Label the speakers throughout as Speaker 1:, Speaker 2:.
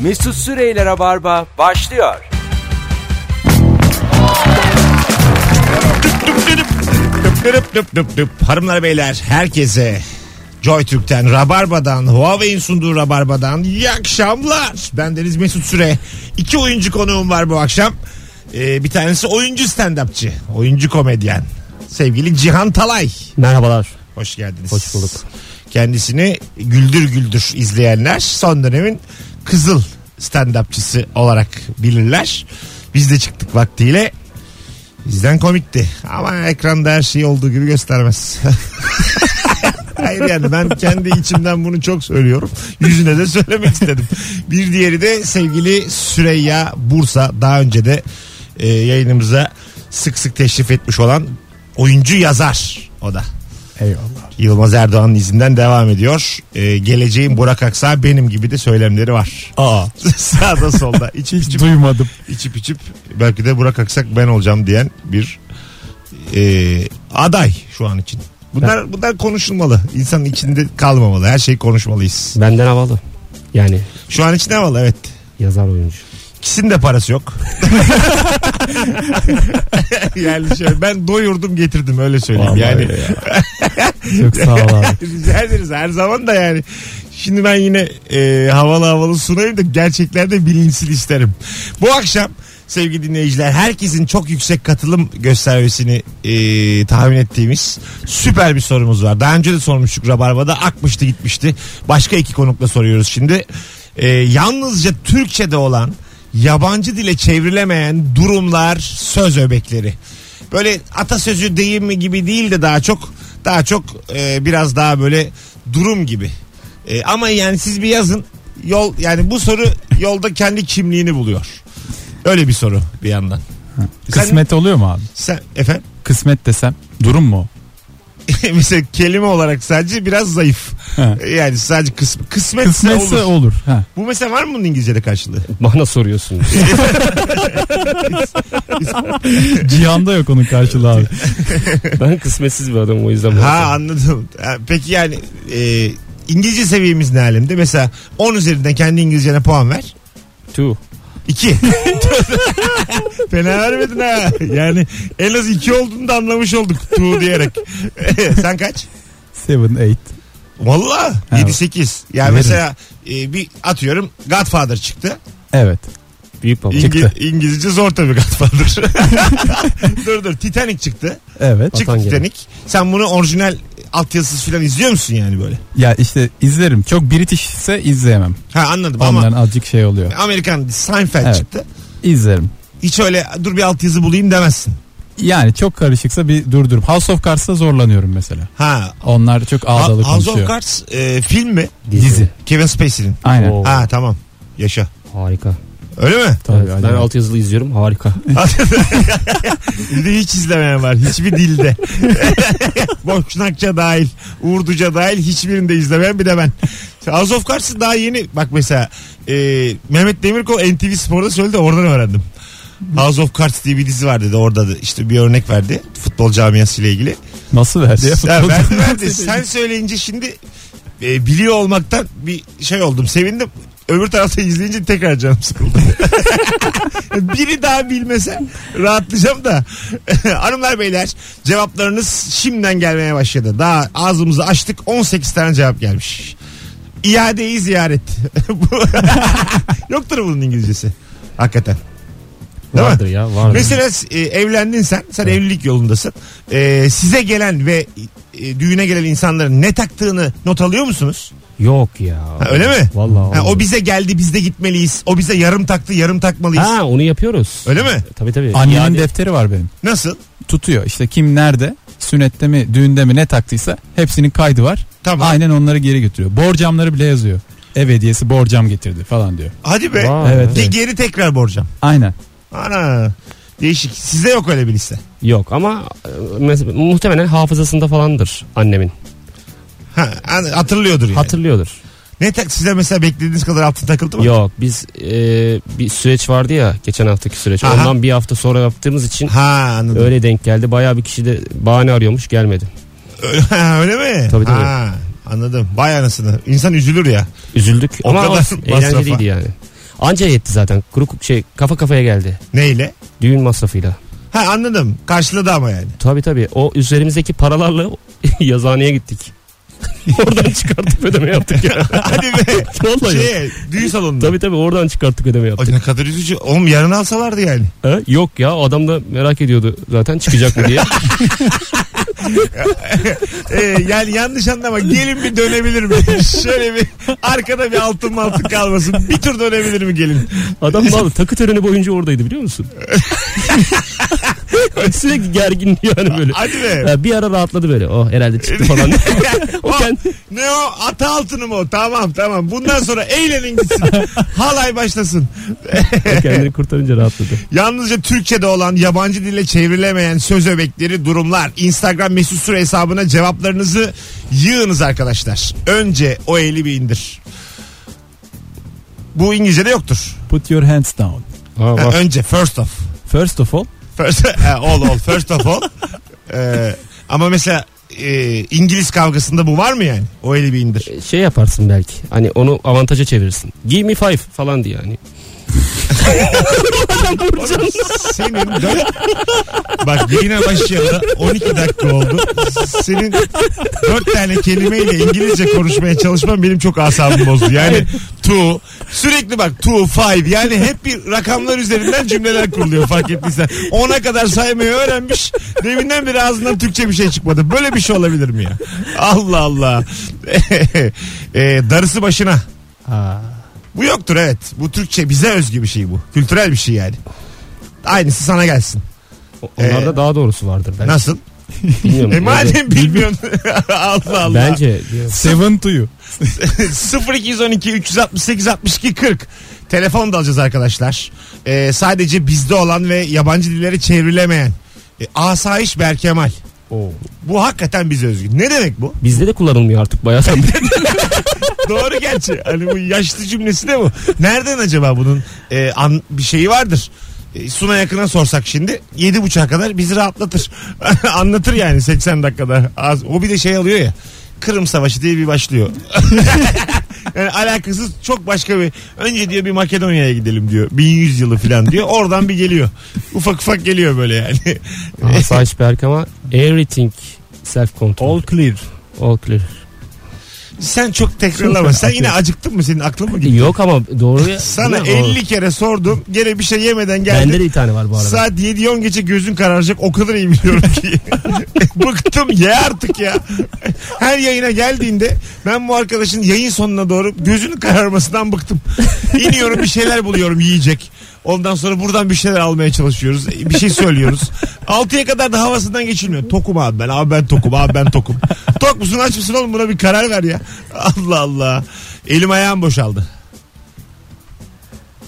Speaker 1: Mesut Süreyler'e barba başlıyor.
Speaker 2: Dıp dıp dıp dıp dıp. Hanımlar beyler herkese Joy Türk'ten, Rabarba'dan, Huawei'in sunduğu Rabarba'dan iyi akşamlar. Ben Deniz Mesut Süre. İki oyuncu konuğum var bu akşam. Ee, bir tanesi oyuncu stand-upçı, oyuncu komedyen. Sevgili Cihan Talay.
Speaker 3: Merhabalar.
Speaker 2: Hoş geldiniz.
Speaker 3: Hoş bulduk.
Speaker 2: Kendisini güldür güldür izleyenler son dönemin kızıl stand-upçısı olarak bilirler. Biz de çıktık vaktiyle. Bizden komikti. Ama ekranda her şeyi olduğu gibi göstermez. Hayır yani ben kendi içimden bunu çok söylüyorum. Yüzüne de söylemek istedim. Bir diğeri de sevgili Süreyya Bursa. Daha önce de e, yayınımıza sık sık teşrif etmiş olan oyuncu yazar o da.
Speaker 3: Eyvallah.
Speaker 2: Yılmaz Erdoğan'ın izinden devam ediyor. Ee, geleceğin Burak Aksa benim gibi de söylemleri var.
Speaker 3: Aa.
Speaker 2: Sağda solda içip içip,
Speaker 3: Duymadım.
Speaker 2: içip içip belki de Burak Aksak ben olacağım diyen bir e, aday şu an için. Bunlar, bunlar konuşulmalı. İnsanın içinde kalmamalı. Her şeyi konuşmalıyız.
Speaker 3: Benden havalı. Yani
Speaker 2: Şu an için havalı evet.
Speaker 3: yazar oyuncu.
Speaker 2: İkisinin de parası yok. yani şöyle, ben doyurdum getirdim öyle söyleyeyim.
Speaker 3: Vallahi
Speaker 2: yani
Speaker 3: Çok sağ ol abi.
Speaker 2: Rica ederiz her zaman da yani. Şimdi ben yine e, havalı havalı sunayım da gerçeklerde bilinsin isterim. Bu akşam sevgili dinleyiciler herkesin çok yüksek katılım göstermesini e, tahmin ettiğimiz süper bir sorumuz var. Daha önce de sormuştuk Rabarba'da akmıştı gitmişti. Başka iki konukla soruyoruz şimdi. E, yalnızca Türkçe'de olan yabancı dile çevrilemeyen durumlar söz öbekleri. Böyle atasözü deyimi gibi değil de daha çok daha çok e, biraz daha böyle durum gibi. E, ama yani siz bir yazın yol yani bu soru yolda kendi kimliğini buluyor. Öyle bir soru bir yandan.
Speaker 4: Kısmet oluyor mu abi?
Speaker 2: Sen efendim
Speaker 4: Kısmet desem durum mu?
Speaker 2: mesela kelime olarak sadece biraz zayıf.
Speaker 4: Ha.
Speaker 2: Yani sadece kısm kısmetse,
Speaker 4: Kısmetse
Speaker 2: olur.
Speaker 4: olur. Ha.
Speaker 2: Bu mesela var mı bunun İngilizce'de karşılığı?
Speaker 3: Bana soruyorsun.
Speaker 4: Cihan'da yok onun karşılığı abi.
Speaker 3: ben kısmetsiz bir adamım o yüzden.
Speaker 2: Ha anladım. Ha, Peki yani e, İngilizce seviyemiz ne alemde? Mesela 10 üzerinden kendi İngilizcene puan ver.
Speaker 3: Two.
Speaker 2: İki. Fena vermedin ha. Yani en az iki olduğunu da anlamış olduk. Tu diyerek. Sen kaç?
Speaker 4: Seven, eight.
Speaker 2: Valla
Speaker 4: Ha.
Speaker 2: 7-8. Yani
Speaker 4: Veririm.
Speaker 2: mesela e, bir atıyorum Godfather çıktı.
Speaker 4: Evet.
Speaker 3: Büyük baba.
Speaker 2: İngi-
Speaker 4: Çıktı.
Speaker 2: İngilizce zor tabii Godfather. dur dur Titanic çıktı.
Speaker 4: Evet.
Speaker 2: Çıktı
Speaker 3: Vatan gemi.
Speaker 2: Titanic. Sen bunu orijinal altyazısız falan izliyor musun yani böyle?
Speaker 4: Ya işte izlerim. Çok British ise izleyemem.
Speaker 2: Ha anladım
Speaker 4: Onların
Speaker 2: ama
Speaker 4: azıcık şey oluyor.
Speaker 2: Amerikan Seinfeld
Speaker 4: Evet.
Speaker 2: çıktı.
Speaker 4: İzlerim.
Speaker 2: Hiç öyle dur bir altyazı bulayım demezsin.
Speaker 4: Yani çok karışıksa bir durdurup. House of Cards'ta zorlanıyorum mesela.
Speaker 2: Ha.
Speaker 4: Onlar çok ağdalı
Speaker 2: House of
Speaker 4: konuşuyor.
Speaker 2: Cards e, film mi?
Speaker 4: Dizi.
Speaker 2: Kevin Spacey'nin.
Speaker 4: Aynen.
Speaker 3: Oo.
Speaker 2: Ha tamam. Yaşa.
Speaker 3: Harika.
Speaker 2: Öyle mi?
Speaker 4: Tabii,
Speaker 3: Evet, ben
Speaker 4: acayip.
Speaker 3: alt yazılı izliyorum. Harika.
Speaker 2: Bir de hiç izlemeyen var. Hiçbir dilde. Boşnakça dahil, Urduca dahil hiçbirinde izlemeyen bir de ben. House of Cards'ı daha yeni bak mesela e, Mehmet Demirkol NTV Spor'da söyledi oradan öğrendim. House of Cards diye bir dizi var dedi orada da işte bir örnek verdi futbol camiası ile ilgili.
Speaker 4: Nasıl verdi ya?
Speaker 2: Ya verdi verdi. Sen söyleyince şimdi e, biliyor olmaktan bir şey oldum. Sevindim. Öbür tarafta izleyince tekrar canım sıkıldı. Biri daha bilmese rahatlayacağım da. Hanımlar beyler cevaplarınız şimdiden gelmeye başladı. Daha ağzımızı açtık 18 tane cevap gelmiş. İadeyi ziyaret. Bu- Yoktur bunun İngilizcesi. Hakikaten. Değil mi?
Speaker 3: vardır ya. Vardır.
Speaker 2: Mesela e, evlendin sen, sen evlilik yolundasın. E, size gelen ve e, düğüne gelen insanların ne taktığını not alıyor musunuz?
Speaker 3: Yok ya.
Speaker 2: Ha, öyle mi?
Speaker 3: Vallahi.
Speaker 2: Ha, o
Speaker 3: olmadı.
Speaker 2: bize geldi, biz de gitmeliyiz. O bize yarım taktı, yarım takmalıyız.
Speaker 3: Ha onu yapıyoruz.
Speaker 2: Öyle mi?
Speaker 3: Tabii tabii.
Speaker 4: Annemin
Speaker 3: İade-
Speaker 4: defteri var benim.
Speaker 2: Nasıl?
Speaker 4: Tutuyor. İşte kim nerede? Sünnette mi, düğünde mi ne taktıysa hepsinin kaydı var.
Speaker 2: Tamam.
Speaker 4: Aynen onları geri götürüyor. Borcamları bile yazıyor. Ev hediyesi borcam getirdi falan diyor.
Speaker 2: Hadi be.
Speaker 3: Vay.
Speaker 4: Evet.
Speaker 2: Ge- Geri tekrar borcam.
Speaker 4: Aynen.
Speaker 2: Ana. Değişik. Sizde yok öyle bir liste.
Speaker 3: Yok ama e, mes- muhtemelen hafızasında falandır annemin.
Speaker 2: Ha, an- hatırlıyordur yani.
Speaker 3: Hatırlıyordur.
Speaker 2: ne tak size mesela beklediğiniz kadar altın takıldı mı?
Speaker 3: Yok biz e, bir süreç vardı ya geçen haftaki süreç.
Speaker 2: Aha.
Speaker 3: Ondan bir hafta sonra yaptığımız için
Speaker 2: Ha anladım.
Speaker 3: öyle denk geldi. Bayağı bir kişi de bahane arıyormuş gelmedi.
Speaker 2: Öyle, ha, öyle mi?
Speaker 3: Tabii, tabii.
Speaker 2: Ha, anladım. Vay anasını. İnsan üzülür ya.
Speaker 3: Üzüldük
Speaker 2: O
Speaker 3: ama
Speaker 2: kadar
Speaker 3: olsun,
Speaker 2: masrafa.
Speaker 3: eğlenceliydi yani. Anca yetti zaten. Kuru ku- şey kafa kafaya geldi.
Speaker 2: Neyle?
Speaker 3: Düğün masrafıyla.
Speaker 2: Ha anladım. Karşıladı ama yani.
Speaker 3: Tabii tabii. O üzerimizdeki paralarla yazıhaneye gittik. oradan çıkartıp ödeme yaptık ya.
Speaker 2: Hadi be.
Speaker 3: Vallahi.
Speaker 2: şey, düğün salonunda.
Speaker 3: Tabii tabii oradan çıkarttık ödeme
Speaker 2: Ay,
Speaker 3: yaptık.
Speaker 2: ne kadar üzücü. Oğlum yarın alsalardı yani.
Speaker 3: Ha? Yok ya adam da merak ediyordu zaten çıkacak mı diye.
Speaker 2: Ee, yani yanlış anlama. Gelin bir dönebilir mi? Şöyle bir arkada bir altın altın kalmasın. Bir tur dönebilir mi gelin?
Speaker 3: Adam vallahi takı töreni boyunca oradaydı biliyor musun? Sürekli gergin yani böyle.
Speaker 2: Hadi be.
Speaker 3: Ya bir ara rahatladı böyle. Oh herhalde çıktı falan. o
Speaker 2: Oh,
Speaker 3: kendi...
Speaker 2: ne o? Ata altını mı o? Tamam tamam. Bundan sonra eğlenin gitsin. Halay başlasın.
Speaker 3: Kendini kurtarınca rahatladı.
Speaker 2: Yalnızca Türkçe'de olan yabancı dille çevrilemeyen söz öbekleri durumlar. Instagram mesut süre hesabına cevaplarınızı yığınız arkadaşlar. Önce o eli bir indir. Bu İngilizce'de yoktur.
Speaker 4: Put your hands down.
Speaker 3: Ha,
Speaker 2: Ha, önce first of.
Speaker 4: First of all.
Speaker 2: First, ha, all all first of all. Ee, ama mesela e, İngiliz kavgasında bu var mı yani? O eli bir indir.
Speaker 3: Şey yaparsın belki. Hani onu avantaja çevirirsin. Give me five falan diye hani.
Speaker 2: Oğlum, Senin dört... Bak yayına başlayalı 12 dakika oldu. Senin dört tane kelimeyle İngilizce konuşmaya çalışman benim çok asabımı bozdu. Yani two sürekli bak two five yani hep bir rakamlar üzerinden cümleler kuruluyor fark ettiysen. Ona kadar saymayı öğrenmiş. Deminden beri ağzından Türkçe bir şey çıkmadı. Böyle bir şey olabilir mi ya? Allah Allah. Ee, darısı başına. Bu yoktur evet. Bu Türkçe bize özgü bir şey bu. Kültürel bir şey yani. Aynısı sana gelsin.
Speaker 3: O- Onlarda
Speaker 2: Ee,
Speaker 3: daha doğrusu vardır belki.
Speaker 2: Nasıl?
Speaker 3: Bilmiyorum.
Speaker 2: E
Speaker 3: Yani
Speaker 2: madem bilmiyorsun. Allah Allah.
Speaker 3: Bence diyor.
Speaker 4: Seven to you.
Speaker 2: 0212 368 62 40. Telefon da alacağız arkadaşlar. Ee, sadece bizde olan ve yabancı dillere çevrilemeyen. Ee, asayiş Berkemal. Bu hakikaten bize özgü. Ne demek bu?
Speaker 3: bizde de kullanılmıyor artık bayağı. sen-
Speaker 2: Doğru gerçi. Hani bu yaşlı cümlesi de bu. Nereden acaba bunun e, an- bir şeyi vardır? E, Suna yakına sorsak şimdi. Yedi buçuğa kadar bizi rahatlatır. Anlatır yani 80 dakikada. Az, o bir de şey alıyor ya. Kırım Savaşı diye bir başlıyor. yani alakasız çok başka bir önce diyor bir Makedonya'ya gidelim diyor. 1100 yılı falan diyor. Oradan bir geliyor. Ufak ufak geliyor böyle yani.
Speaker 3: Asayiş Berk ama everything self control. All clear. All clear.
Speaker 2: Sen çok tekrarlama. Sen yine acıktın mı? Senin aklın mı gitti?
Speaker 3: Yok ama doğru ya.
Speaker 2: Sana
Speaker 3: Değil mi?
Speaker 2: 50 kere sordum. Gene bir şey yemeden geldin.
Speaker 3: Bende de bir tane var bu arada.
Speaker 2: Saat 7-10 geçe gözün kararacak o kadar iyi biliyorum ki. Bıktım ye artık ya. Her yayına geldiğinde ben bu arkadaşın yayın sonuna doğru gözünün kararmasından bıktım. İniyorum bir şeyler buluyorum yiyecek. Ondan sonra buradan bir şeyler almaya çalışıyoruz. Bir şey söylüyoruz. 6'ya kadar da havasından geçilmiyor. Tokum abi ben abi ben tokum abi ben tokum. Tok musun aç mısın oğlum buna bir karar ver ya. Allah Allah. Elim ayağım boşaldı.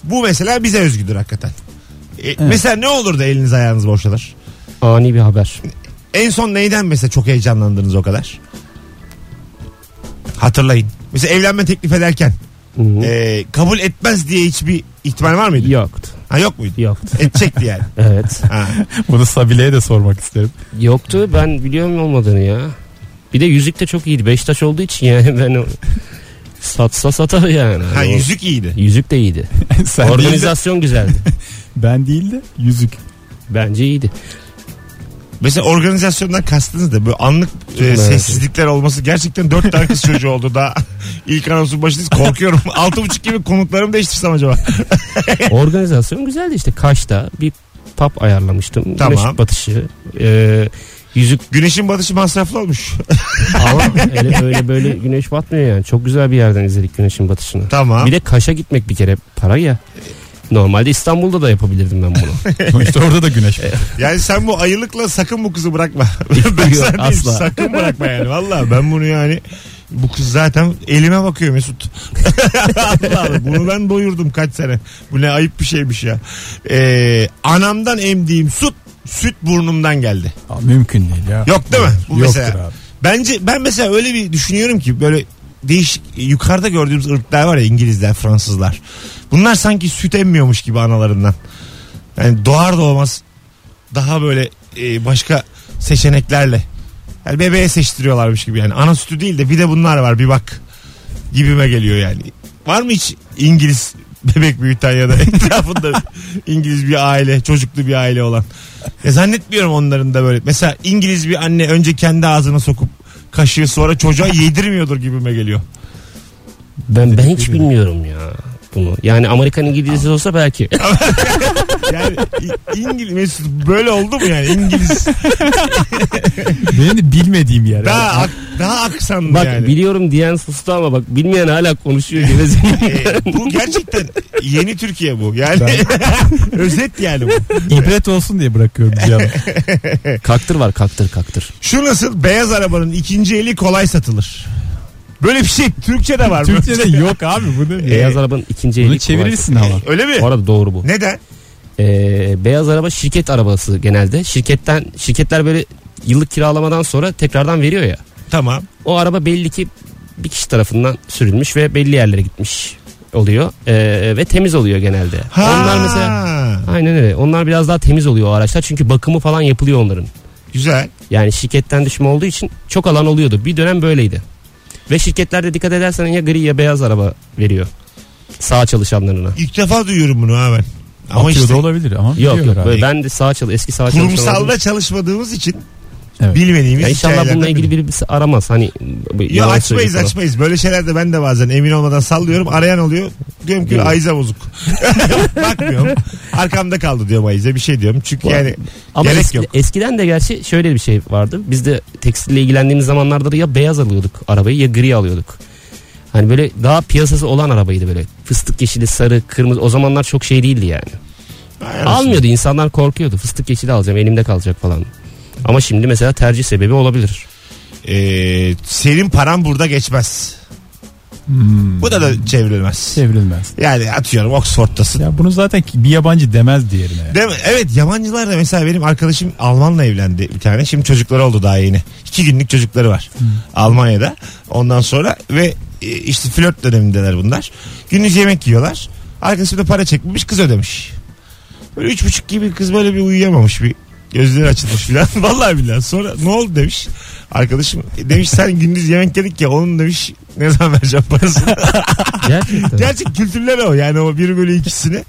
Speaker 2: Bu mesela bize özgüdür hakikaten. E, Mesela ne olur da eliniz ayağınız boşalır?
Speaker 3: Ani bir haber.
Speaker 2: En son neyden mesela çok heyecanlandınız o kadar? Hatırlayın. Mesela evlenme teklif ederken
Speaker 3: Hı.
Speaker 2: e, kabul etmez diye hiçbir ihtimal var mıydı?
Speaker 3: Yoktu.
Speaker 2: Ha, yok muydu?
Speaker 3: Yoktu.
Speaker 2: Edecekti yani.
Speaker 3: Evet.
Speaker 2: Ha.
Speaker 4: Bunu Sabile'ye de sormak isterim.
Speaker 3: Yoktu ben biliyorum olmadığını ya. Bir de yüzük de çok iyiydi. Beşiktaş olduğu için yani ben o- satsa satar yani.
Speaker 2: ha,
Speaker 3: O-
Speaker 2: yüzük iyiydi.
Speaker 3: Yüzük de iyiydi.
Speaker 4: Sen değil de,
Speaker 3: Organizasyon güzeldi.
Speaker 4: ben değil de yüzük.
Speaker 3: Bence iyiydi.
Speaker 2: Mesela organizasyondan kastınız da böyle anlık e,
Speaker 3: Evet.
Speaker 2: sessizlikler olması gerçekten dört tane kız çocuğu oldu daha. ilk anonsun başındayız korkuyorum. Altı buçuk gibi konuklarımı değiştirsem acaba?
Speaker 3: Organizasyon güzeldi işte. Kaş'ta bir pub ayarlamıştım.
Speaker 2: Tamam.
Speaker 3: Güneş batışı. Ee, yüzük
Speaker 2: Güneşin batışı masraflı olmuş.
Speaker 3: ama öyle, öyle böyle güneş batmıyor yani. Çok güzel bir yerden izledik güneşin batışını.
Speaker 2: tamam.
Speaker 3: Bir de Kaş'a gitmek bir kere para ya. Normalde İstanbul'da da yapabilirdim ben bunu.
Speaker 4: Sonuçta orada da güneş. var.
Speaker 2: Yani sen bu ayılıkla sakın bu kızı bırakma. ben
Speaker 3: Yok,
Speaker 2: sana diyeyim
Speaker 3: asla.
Speaker 2: sakın bırakma yani. Valla ben bunu yani bu kız zaten elime bakıyor Mesut. Allah Allah bunu ben doyurdum kaç sene. Bu ne ayıp bir şeymiş ya. Ee, anamdan emdiğim süt süt burnumdan geldi.
Speaker 4: Aa, mümkün değil ya.
Speaker 2: Yok değil mi? Bu
Speaker 4: Yoktur
Speaker 2: mesela.
Speaker 4: abi.
Speaker 2: Bence ben mesela öyle bir düşünüyorum ki böyle değişik yukarıda gördüğümüz ırklar var ya İngilizler, Fransızlar. Bunlar sanki süt emmiyormuş gibi analarından. Yani doğar doğmaz daha böyle e, başka seçeneklerle. Yani bebeğe seçtiriyorlarmış gibi yani. Ana sütü değil de bir de bunlar var bir bak gibime geliyor yani. Var mı hiç İngiliz bebek büyüten ya da etrafında İngiliz bir aile, çocuklu bir aile olan. Ya zannetmiyorum onların da böyle. Mesela İngiliz bir anne önce kendi ağzına sokup kaşığı sonra çocuğa yedirmiyordur gibime geliyor.
Speaker 3: Ben ben hiç bilmiyorum ya bunu. Yani Amerikan İngilizcesi olsa belki.
Speaker 2: Yani İ- İngiliz Mesut böyle oldu mu yani İngiliz
Speaker 4: Benim de bilmediğim yer.
Speaker 2: daha ak- daha aksanlı
Speaker 3: Bak
Speaker 2: yani.
Speaker 3: biliyorum diyen sustu ama bak bilmeyen hala konuşuyor gibi.
Speaker 2: Ee, bu gerçekten yeni Türkiye bu. Yani özet yani bu.
Speaker 4: İbret olsun diye bırakıyorum canım.
Speaker 3: kaktır var kaktır kaktır.
Speaker 2: Şu nasıl beyaz arabanın ikinci eli kolay satılır. Böyle bir şey Türkçe de var mı?
Speaker 4: Türkçe'de yok abi bu ne?
Speaker 2: Ee,
Speaker 3: Beyaz arabanın ikinci eli kolay.
Speaker 4: Bunu çevirirsin ama.
Speaker 2: Öyle mi?
Speaker 3: Bu arada doğru bu.
Speaker 2: Neden?
Speaker 3: Ee, beyaz araba şirket arabası genelde. Şirketten şirketler böyle yıllık kiralamadan sonra tekrardan veriyor ya.
Speaker 2: Tamam.
Speaker 3: O araba belli ki bir kişi tarafından sürülmüş ve belli yerlere gitmiş oluyor Ee, ve temiz oluyor genelde. Onlar mesela aynen öyle. Onlar biraz daha temiz oluyor o araçlar çünkü bakımı falan yapılıyor onların.
Speaker 2: Güzel.
Speaker 3: Yani şirketten düşme olduğu için çok alan oluyordu. Bir dönem böyleydi. Ve şirketlerde dikkat edersen ya gri ya beyaz araba veriyor. Sağ çalışanlarına.
Speaker 2: İlk defa duyuyorum bunu ha ben. Ama
Speaker 4: Atıyor
Speaker 2: işte
Speaker 4: da olabilir ama
Speaker 3: Yok
Speaker 4: biliyor
Speaker 3: yok
Speaker 4: herhalde.
Speaker 3: böyle ben de sağ çalış eski sağ çalışan olduğum
Speaker 2: kurumsalda çalışmadığımız için
Speaker 4: Evet.
Speaker 2: bilmediğimiz
Speaker 3: Ya inşallah
Speaker 2: hikayelerden
Speaker 3: bununla ilgili
Speaker 2: biri.
Speaker 3: birisi aramaz. Hani bu-
Speaker 2: Ya
Speaker 3: yalan
Speaker 2: açmayız
Speaker 3: söylüyor falan.
Speaker 2: açmayız. Böyle şeylerde ben de bazen emin olmadan sallıyorum. Arayan oluyor. Diyorum ki
Speaker 3: Değil mi?
Speaker 2: Ayza bozuk. Bakmıyorum. Arkamda kaldı diyorum Ayza. Bir şey diyorum. Çünkü
Speaker 3: Var.
Speaker 2: yani
Speaker 3: Ama
Speaker 2: Gerek
Speaker 3: eski-
Speaker 2: yok.
Speaker 3: eskiden de gerçi şöyle bir şey vardı. Biz de tekstille ilgilendiğimiz zamanlarda da ya beyaz alıyorduk arabayı ya gri alıyorduk. Hani böyle daha piyasası olan arabaydı böyle. Fıstık yeşili, sarı, kırmızı. O zamanlar çok şey değildi yani.
Speaker 2: Ay anasını.
Speaker 3: Almıyordu insanlar korkuyordu. Fıstık yeşili alacağım elimde kalacak falan. Ama şimdi mesela tercih sebebi olabilir.
Speaker 2: Ee, senin paran burada geçmez.
Speaker 4: Hmm.
Speaker 2: Bu da da çevrilmez.
Speaker 4: çevrilmez.
Speaker 2: Yani atıyorum Oxford'tasın.
Speaker 4: Ya bunu zaten ki- bir yabancı demez diğerine. ya.
Speaker 2: Değil mi? Evet yabancılar da mesela benim arkadaşım Almanla evlendi bir tane. Şimdi çocukları oldu daha yeni. İki günlük çocukları var. Almanya'da. Ondan sonra ve e, işte flört dönemindeler bunlar. Gündüz yemek yiyorlar. Arkadaşım da para çekmemiş kız ödemiş. Böyle üç buçuk gibi kız böyle bir uyuyamamış bir gözleri açılmış filan. Vallahi billahi. Sonra ne oldu demiş. Arkadaşım e, demiş sen gündüz yemek yedik ya onun demiş ne zaman vereceğim parasını.
Speaker 3: Gerçekten.
Speaker 2: Gerçek kültürler o yani o 1 bölü ikisini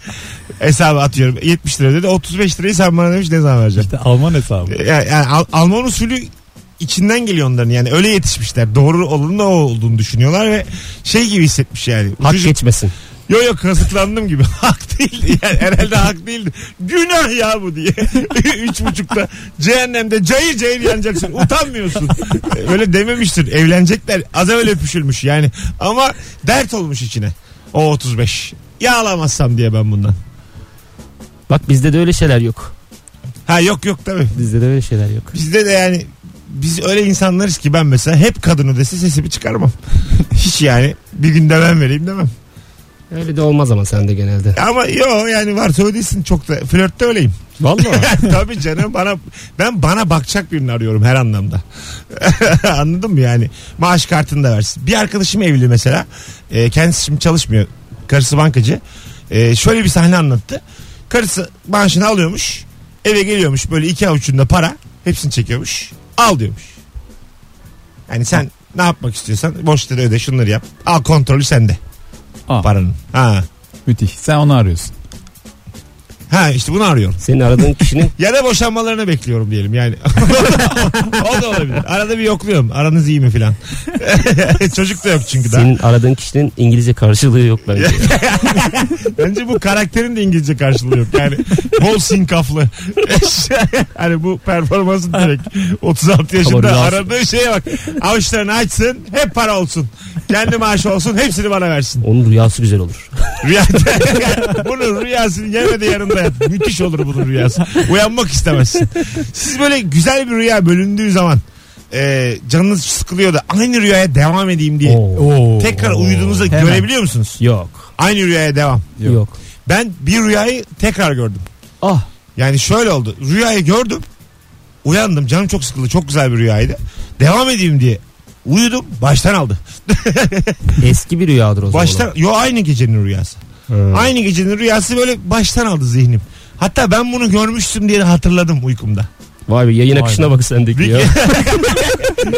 Speaker 2: hesaba atıyorum 70 lira dedi 35 lirayı sen bana demiş ne zaman vereceksin?
Speaker 4: İşte Alman hesabı.
Speaker 2: Yani, yani Al- Alman usulü içinden geliyor onların yani öyle yetişmişler doğru olanın o olduğunu düşünüyorlar ve şey gibi hissetmiş yani.
Speaker 3: Hak
Speaker 2: Çocuk-
Speaker 3: geçmesin.
Speaker 2: Yo yo kazıklandım gibi. Hak değildi yani. Herhalde hak değildi. Günah ya bu diye. Üç buçukta cehennemde cayır cayır yanacaksın. Utanmıyorsun. E, Öyle dememiştir. Evlenecekler. Az evvel öpüşülmüş yani. Ama dert olmuş içine. O 35. Ya alamazsam diye ben bundan.
Speaker 3: Bak bizde de öyle şeyler yok.
Speaker 2: Ha yok yok tabii.
Speaker 3: Bizde de öyle şeyler yok.
Speaker 2: Bizde de yani biz öyle insanlarız ki ben mesela hep kadını dese sesimi çıkarmam. Hiç yani bir gün demem vereyim demem.
Speaker 3: Öyle de olmaz ama sende genelde.
Speaker 2: Ama yo yani varsa ödesin çok da flörtte öyleyim.
Speaker 4: Vallahi.
Speaker 2: Tabii canım bana ben bana bakacak birini arıyorum her anlamda. Anladın mı yani? Maaş kartını da versin. Bir arkadaşım evli mesela. Ee, kendisi şimdi çalışmıyor. Karısı bankacı. Ee, şöyle bir sahne anlattı. Karısı maaşını alıyormuş. Eve geliyormuş böyle iki avucunda para. Hepsini çekiyormuş. Al diyormuş. Yani sen ne yapmak istiyorsan borçları öde şunları yap. Al kontrolü sende.
Speaker 4: Aa.
Speaker 2: Paranın. Ha.
Speaker 4: Müthiş. Sen onu arıyorsun.
Speaker 2: Ha işte bunu arıyorum.
Speaker 3: Senin aradığın kişinin
Speaker 2: Ya da boşanmalarını bekliyorum diyelim yani. o da olabilir. Arada bir yokluyorum. Aranız iyi mi filan. Çocuk da yok çünkü daha.
Speaker 3: senin aradığın kişinin İngilizce karşılığı yok bence.
Speaker 2: Bence bu karakterin de İngilizce karşılığı yok. Yani bol sinkaflı. hani bu performansın direkt 36 yaşında
Speaker 3: Tamam,
Speaker 2: aradığı şeye bak. Avuçlarını açsın hep para olsun. Kendi maaşı olsun hepsini bana versin.
Speaker 3: Onun rüyası güzel olur.
Speaker 2: Rüya, bunun rüyasını yeme de yanında yat. Müthiş olur bunun rüyası. Uyanmak istemezsin. Siz böyle güzel bir rüya bölündüğü zaman e, canınız sıkılıyor da aynı rüyaya devam edeyim diye.
Speaker 4: Oo.
Speaker 2: Tekrar
Speaker 4: Oo.
Speaker 2: uyuduğunuzda
Speaker 4: Hemen.
Speaker 2: görebiliyor musunuz?
Speaker 3: Yok.
Speaker 2: Aynı rüyaya devam.
Speaker 4: Yok.
Speaker 3: Yok.
Speaker 2: Ben bir rüyayı tekrar gördüm.
Speaker 3: Ah.
Speaker 2: Yani şöyle oldu. Rüyayı gördüm. Uyandım. Canım çok sıkıldı. Çok güzel bir rüyaydı. Devam edeyim diye. Uyudum. Baştan aldı.
Speaker 3: Eski bir rüyadır o zaman.
Speaker 2: Baştan. Yo aynı gecenin rüyası.
Speaker 3: Hmm.
Speaker 2: Aynı gecenin rüyası böyle baştan aldı zihnim. Hatta ben bunu görmüştüm diye de hatırladım uykumda.
Speaker 3: Vay be yayın
Speaker 4: Vay
Speaker 3: akışına
Speaker 4: be.
Speaker 3: bak sen de
Speaker 2: Bir-
Speaker 3: diyor.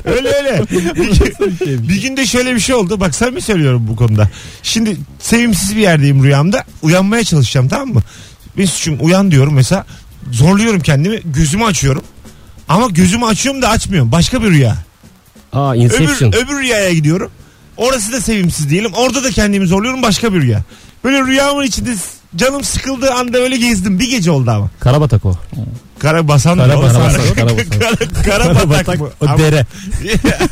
Speaker 2: öyle öyle. Bir, gün- bir günde şöyle bir şey oldu. Bak sen mi söylüyorum bu konuda? Şimdi sevimsiz bir yerdeyim rüyamda. Uyanmaya çalışacağım tamam mı? Mesut'cum uyan diyorum mesela. Zorluyorum kendimi. Gözümü açıyorum. Ama gözümü açıyorum da açmıyorum. Başka bir rüya.
Speaker 3: Aa
Speaker 2: Öbür,
Speaker 3: Inception.
Speaker 2: öbür rüyaya gidiyorum. Orası da sevimsiz diyelim. Orada da kendimi zorluyorum. Başka bir rüya. Böyle rüyamın içinde s- canım sıkıldığı anda öyle gezdim. Bir gece oldu ama.
Speaker 3: Karabatak o.
Speaker 2: Karabasan mı?
Speaker 3: Karabasan,
Speaker 2: Karabasan.
Speaker 3: Karabasan.
Speaker 2: Kara- Karabatak mı?
Speaker 3: O
Speaker 2: Ama-
Speaker 3: dere.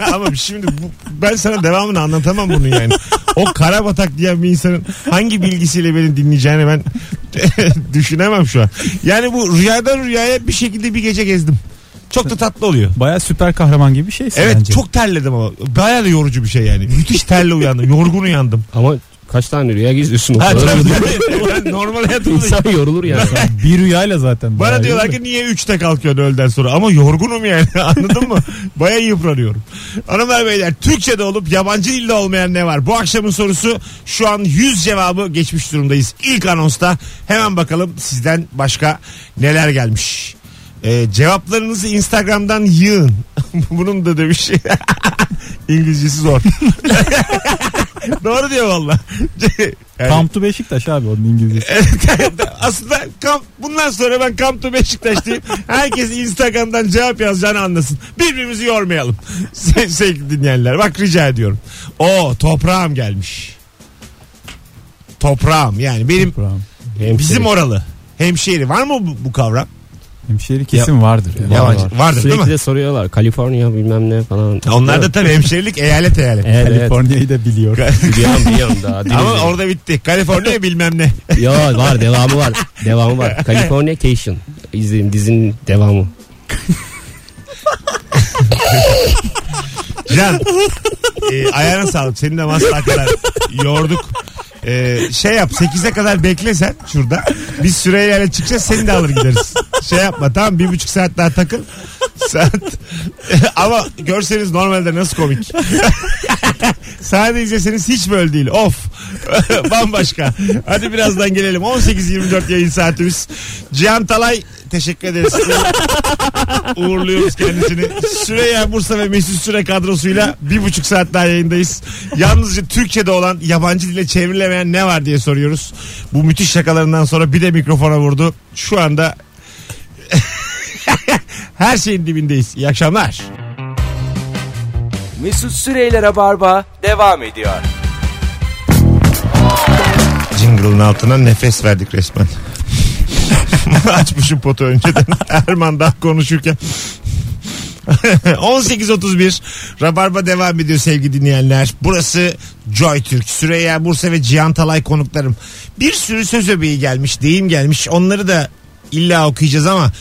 Speaker 2: Ama şimdi bu, ben sana devamını anlatamam bunu yani. O karabatak diyen bir insanın hangi bilgisiyle beni dinleyeceğini ben düşünemem şu an. Yani bu rüyadan rüyaya bir şekilde bir gece gezdim. Çok da tatlı oluyor.
Speaker 4: Baya süper kahraman gibi bir şey şeysin
Speaker 2: Evet
Speaker 4: bence.
Speaker 2: çok terledim ama. Bayağı da yorucu bir şey yani. Müthiş terle uyandım. Yorgun uyandım.
Speaker 3: Ama kaç tane rüya geziyorsun o
Speaker 2: Ha,
Speaker 3: kadar?
Speaker 2: tabii, tabii. Ben normal hayatımda
Speaker 3: İnsan yorulur ya.
Speaker 4: Bir rüyayla zaten.
Speaker 2: Bana
Speaker 4: bayağı
Speaker 2: diyorlar
Speaker 4: iyi.
Speaker 2: ki niye 3'te kalkıyorsun öğleden sonra? Ama yorgunum yani anladın mı? Baya yıpranıyorum. Hanımlar beyler Türkçe'de olup yabancı dilde olmayan ne var? Bu akşamın sorusu şu an 100 cevabı geçmiş durumdayız. İlk anonsta hemen bakalım sizden başka neler gelmiş. Ee, cevaplarınızı Instagram'dan yığın. Bunun da demiş. İngilizcesi zor. Doğru diyor valla. Yani-
Speaker 4: Come to Beşiktaş abi onun İngilizcesi.
Speaker 2: Evet, Aslında kamp, bundan sonra ben Kamp to Beşiktaş diyeyim. Herkes Instagram'dan cevap yazacağını anlasın. Birbirimizi yormayalım. Se- sevgili dinleyenler. Bak rica ediyorum. O toprağım gelmiş. Toprağım yani benim
Speaker 4: Buram.
Speaker 2: bizim oralı. Hemşehri var mı bu, bu kavram?
Speaker 4: Hemşehri kesin vardır. Yani.
Speaker 2: Ya- Yabancı- vardır,
Speaker 3: Sürekli
Speaker 2: değil mi?
Speaker 3: de soruyorlar. Kaliforniya bilmem ne falan.
Speaker 2: Onlar da
Speaker 3: Değil mi?
Speaker 2: tabii hemşehrilik eyalet eyalet.
Speaker 3: Evet evet.
Speaker 4: Kaliforniya'yı da biliyor.
Speaker 3: Biliyorum biliyorum daha.
Speaker 2: Ama orada bitti. Kaliforniya bilmem ne.
Speaker 3: Yo var devamı var. Devamı var. California Cation. İzleyin dizinin devamı.
Speaker 2: Can e, ayağına sağlık. Seni de masla kadar yorduk. E, şey yap 8'e kadar bekle sen şurada. Biz süreyle çıkacağız seni de alır gideriz. Şey yapma tamam bir buçuk saat daha takıl. Saat. Ama görseniz normalde nasıl komik. Sadece izleseniz hiç böyle değil. Of. Bambaşka. Hadi birazdan gelelim. 18.24 yayın saatimiz. Cihan Talay teşekkür ederiz. Uğurluyoruz kendisini. Süreyya Bursa ve Mesut Süre kadrosuyla bir buçuk saat daha yayındayız. Yalnızca Türkçe'de olan yabancı dile çevrilemeyen ne var diye soruyoruz. Bu müthiş şakalarından sonra bir de mikrofona vurdu. Şu anda her şeyin dibindeyiz. İyi akşamlar.
Speaker 1: Mesut Süreyler'e barba devam ediyor.
Speaker 2: Jingle'ın altına nefes verdik resmen. Açmışım potu önceden. Erman daha konuşurken. 18.31 Rabarba devam ediyor sevgili dinleyenler. Burası Joy Türk. Süreyya Bursa ve Cihan Talay konuklarım. Bir sürü söz öbeği gelmiş, deyim gelmiş. Onları da illa okuyacağız ama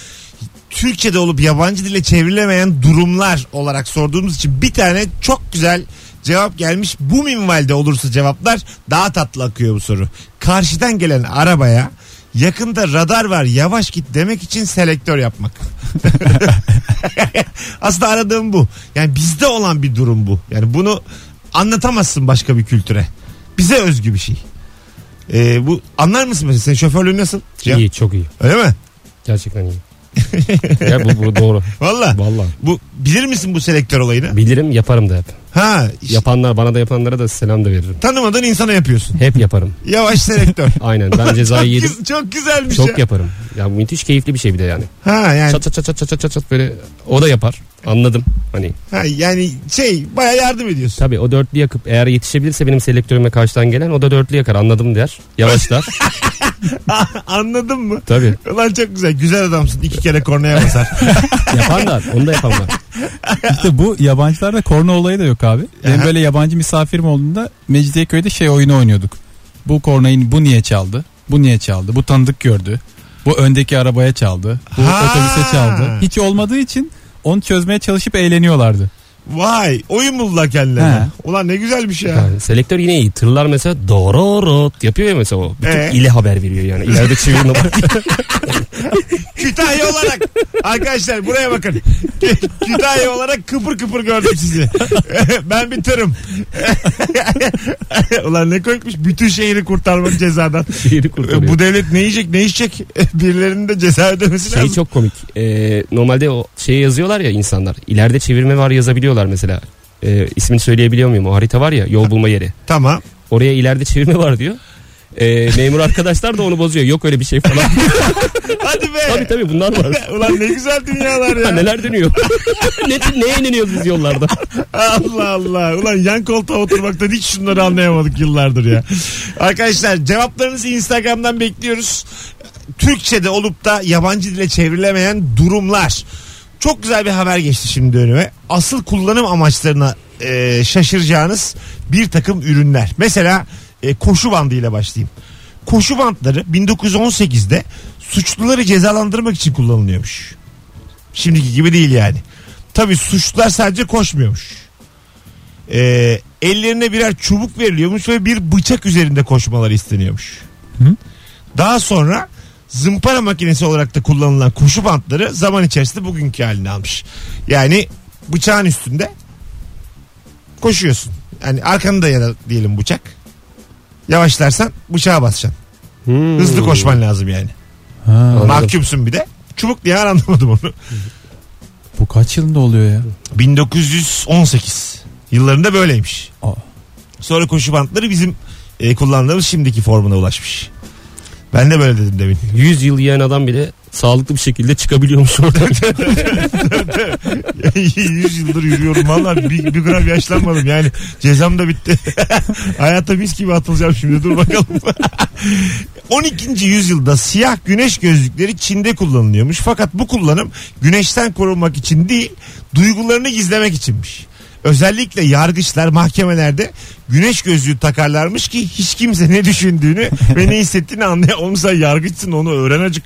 Speaker 2: Türkçe'de olup yabancı dile çevrilemeyen durumlar olarak sorduğumuz için bir tane çok güzel cevap gelmiş. Bu minvalde olursa cevaplar daha tatlı akıyor bu soru. Karşıdan gelen arabaya yakında radar var yavaş git demek için selektör yapmak. Aslında aradığım bu. Yani bizde olan bir durum bu. Yani bunu anlatamazsın başka bir kültüre. Bize özgü bir şey. Ee, bu anlar mısın mesela? Senin şoförlüğün nasıl? Cihan?
Speaker 3: İyi çok iyi.
Speaker 2: Öyle mi?
Speaker 3: Gerçekten iyi. ya bu, bu doğru.
Speaker 2: Valla.
Speaker 3: Vallahi.
Speaker 2: Bu bilir misin bu selektör olayını?
Speaker 3: Bilirim yaparım da hep.
Speaker 2: Ha, işte
Speaker 3: Yapanlar bana da yapanlara da selam da veririm.
Speaker 2: tanımadığın insana yapıyorsun.
Speaker 3: Hep yaparım.
Speaker 2: Yavaş selektör.
Speaker 3: Aynen ben cezayı
Speaker 2: çok,
Speaker 3: yedim.
Speaker 2: güz- çok güzelmiş
Speaker 3: Çok
Speaker 2: ya.
Speaker 3: yaparım. Ya müthiş keyifli bir şey bir de yani.
Speaker 2: Ha yani
Speaker 3: Çat çat çat çat çat çat çat çat böyle o da yapar. Anladım. Hani
Speaker 2: ha, yani şey baya yardım ediyorsun.
Speaker 3: tabii o dörtlü yakıp eğer yetişebilirse benim selektörüme karşıdan gelen o da dörtlü yakar. Anladım der. Yavaşlar.
Speaker 2: Anladın mı?
Speaker 3: tabii.
Speaker 2: Ulan çok güzel. Güzel adamsın. İki kere kornaya basar.
Speaker 3: Yapanlar. Onu da yapanlar.
Speaker 4: İşte bu yabancılarda korna olayı da yok abi. Benim
Speaker 2: Aha.
Speaker 4: böyle yabancı misafirim olduğunda Mecidiyeköy'de şey oyunu oynuyorduk. Bu kornayı bu niye çaldı? Bu niye çaldı? Bu tanıdık gördü. Bu öndeki arabaya çaldı. Bu
Speaker 2: Ha.
Speaker 4: otobüse çaldı. Hiç olmadığı için onu çözmeye çalışıp eğleniyorlardı.
Speaker 2: Vay oyun buldular kendilerine.
Speaker 4: He.
Speaker 2: Ulan ne güzelmiş ya.
Speaker 3: Yani selektör yine iyi. Tırlar mesela dororot yapıyor ya mesela o. Bütün
Speaker 2: Ee?
Speaker 3: ile haber veriyor yani. İleride çevir numara.
Speaker 2: Kütahya olarak arkadaşlar buraya bakın. Kütahya olarak kıpır kıpır gördüm sizi. ben bir tırım. Ulan ne koymuş bütün şehri kurtarmak cezadan.
Speaker 3: Şehri kurtarıyor.
Speaker 2: Bu devlet ne yiyecek ne içecek birilerinin de ceza ödemesi
Speaker 3: şey
Speaker 2: lazım.
Speaker 3: çok komik. Ee, normalde o şeye yazıyorlar ya insanlar. İleride çevirme var yazabiliyorlar mesela. Ee, ismini söyleyebiliyor muyum? O harita var ya yol bulma yeri.
Speaker 2: Tamam.
Speaker 3: Oraya ileride çevirme var diyor. Ee, memur arkadaşlar da onu bozuyor. Yok öyle bir şey falan.
Speaker 2: Hadi be.
Speaker 3: tabii tabii bunlar var.
Speaker 2: Ulan ne güzel dünyalar
Speaker 3: Ha,
Speaker 2: ya.
Speaker 3: neler dönüyor? ne, neye ineniyoruz biz yollarda?
Speaker 2: Allah Allah. Ulan yan koltuğa oturmaktan hiç şunları anlayamadık yıllardır ya. Arkadaşlar cevaplarınızı Instagram'dan bekliyoruz. Türkçe'de olup da yabancı dile çevrilemeyen durumlar. Çok güzel bir haber geçti şimdi önüme. Asıl kullanım amaçlarına e, şaşıracağınız bir takım ürünler. Mesela e, koşu bandıyla başlayayım. Koşu bandları 1918'de suçluları cezalandırmak için kullanılıyormuş. Şimdiki gibi değil yani. Tabi suçlular sadece koşmuyormuş. Ee, ellerine birer çubuk veriliyormuş ve bir bıçak üzerinde koşmaları isteniyormuş.
Speaker 4: Hı.
Speaker 2: Daha sonra zımpara makinesi olarak da kullanılan koşu bantları zaman içerisinde bugünkü halini almış. Yani bıçağın üstünde koşuyorsun. Yani arkanda da ya da diyelim bıçak. Yavaşlarsan bıçağa basacaksın. Hızlı koşman lazım yani.
Speaker 4: Ha,
Speaker 3: Hmm. Anladım.
Speaker 2: Mahkumsun bir de. Çubuk diye anlamadım onu.
Speaker 4: bu kaç yılında oluyor ya?
Speaker 2: 1918 yıllarında böyleymiş.
Speaker 4: Aa.
Speaker 2: Sonra koşu bantları bizim e, kullandığımız şimdiki formuna ulaşmış. Ben de böyle dedim demin.
Speaker 3: 100 yıl yiyen adam bile sağlıklı bir şekilde çıkabiliyormuş oradan.
Speaker 2: 100 yıldır yürüyorum valla bir, bir gram yaşlanmadım yani cezam da bitti. Hayata mis gibi atılacağım şimdi dur bakalım. 12. yüzyılda siyah güneş gözlükleri Çin'de kullanılıyormuş. Fakat bu kullanım güneşten korunmak için değil, duygularını gizlemek içinmiş. Özellikle yargıçlar mahkemelerde güneş gözlüğü takarlarmış ki hiç kimse ne düşündüğünü ve ne hissettiğini anlaya. Oğlum sen yargıçsın onu öğren acık.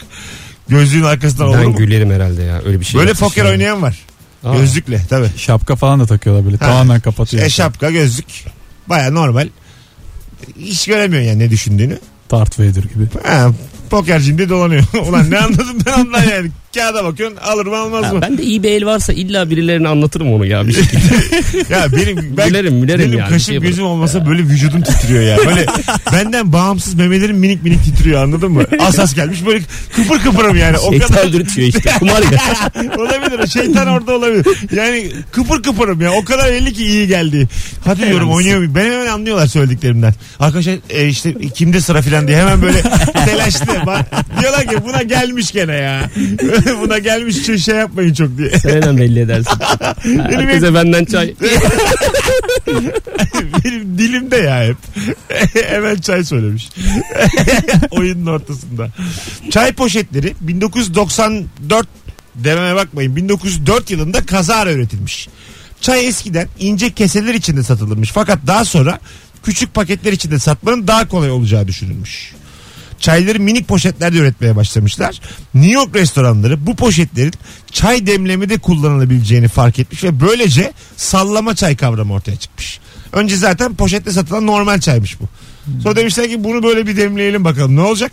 Speaker 2: Gözlüğün arkasından olur
Speaker 3: ben
Speaker 2: mu?
Speaker 3: gülerim herhalde ya öyle bir şey.
Speaker 2: Böyle
Speaker 3: yapmış
Speaker 2: poker
Speaker 3: yani.
Speaker 2: oynayan var.
Speaker 3: Aa.
Speaker 2: Gözlükle tabii.
Speaker 4: Şapka falan da takıyorlar böyle.
Speaker 2: Ha.
Speaker 4: Tamamen kapatıyor.
Speaker 2: E şapka gözlük baya normal. Hiç göremiyorsun yani ne düşündüğünü.
Speaker 4: Darth Vader gibi.
Speaker 2: Ha, pokercim diye dolanıyor. Ulan ne anladım ben anlar yani. Kağıda bakıyorsun alır mı almaz
Speaker 3: Ha,
Speaker 2: mı?
Speaker 3: ben de iyi bir el varsa illa birilerine anlatırım onu ya bir şey şekilde.
Speaker 2: Ya benim ben,
Speaker 3: Gülerim, gülerim
Speaker 2: benim
Speaker 3: yani. Bir
Speaker 2: kaşım
Speaker 3: şey
Speaker 2: gözüm olmasa böyle vücudum titriyor ya. Böyle benden bağımsız memelerim minik minik titriyor anladın mı? Asas gelmiş böyle kıpır kıpırım yani. O kadar
Speaker 3: Şeytan dürtüyor işte. Kumar ya.
Speaker 2: olabilir. Şeytan orada olabilir. Yani kıpır kıpırım ya. O kadar belli ki iyi geldi. Hadi diyorum oynuyor muyum? Ben hemen anlıyorlar söylediklerimden. Arkadaşlar e, işte kimde sıra filan diye hemen böyle telaşlı. Ba- Diyorlar ki buna gelmiş gene ya. buna gelmiş şey- şey yapmayın çok diye.
Speaker 3: Sen hemen belli edersin. Herkese benden çay.
Speaker 2: Benim dilimde ya hep. Hemen çay söylemiş. Oyunun ortasında. Çay poşetleri 1994 dememe bakmayın 1904 yılında kazara üretilmiş. Çay eskiden ince keseler içinde satılırmış. Fakat daha sonra küçük paketler içinde satmanın daha kolay olacağı düşünülmüş. Çayları minik poşetlerde üretmeye başlamışlar. New York restoranları bu poşetlerin çay demlemede kullanılabileceğini fark etmiş ve böylece sallama çay kavramı ortaya çıkmış. Önce zaten poşette satılan normal çaymış bu. Sonra demişler ki bunu böyle bir demleyelim bakalım ne olacak?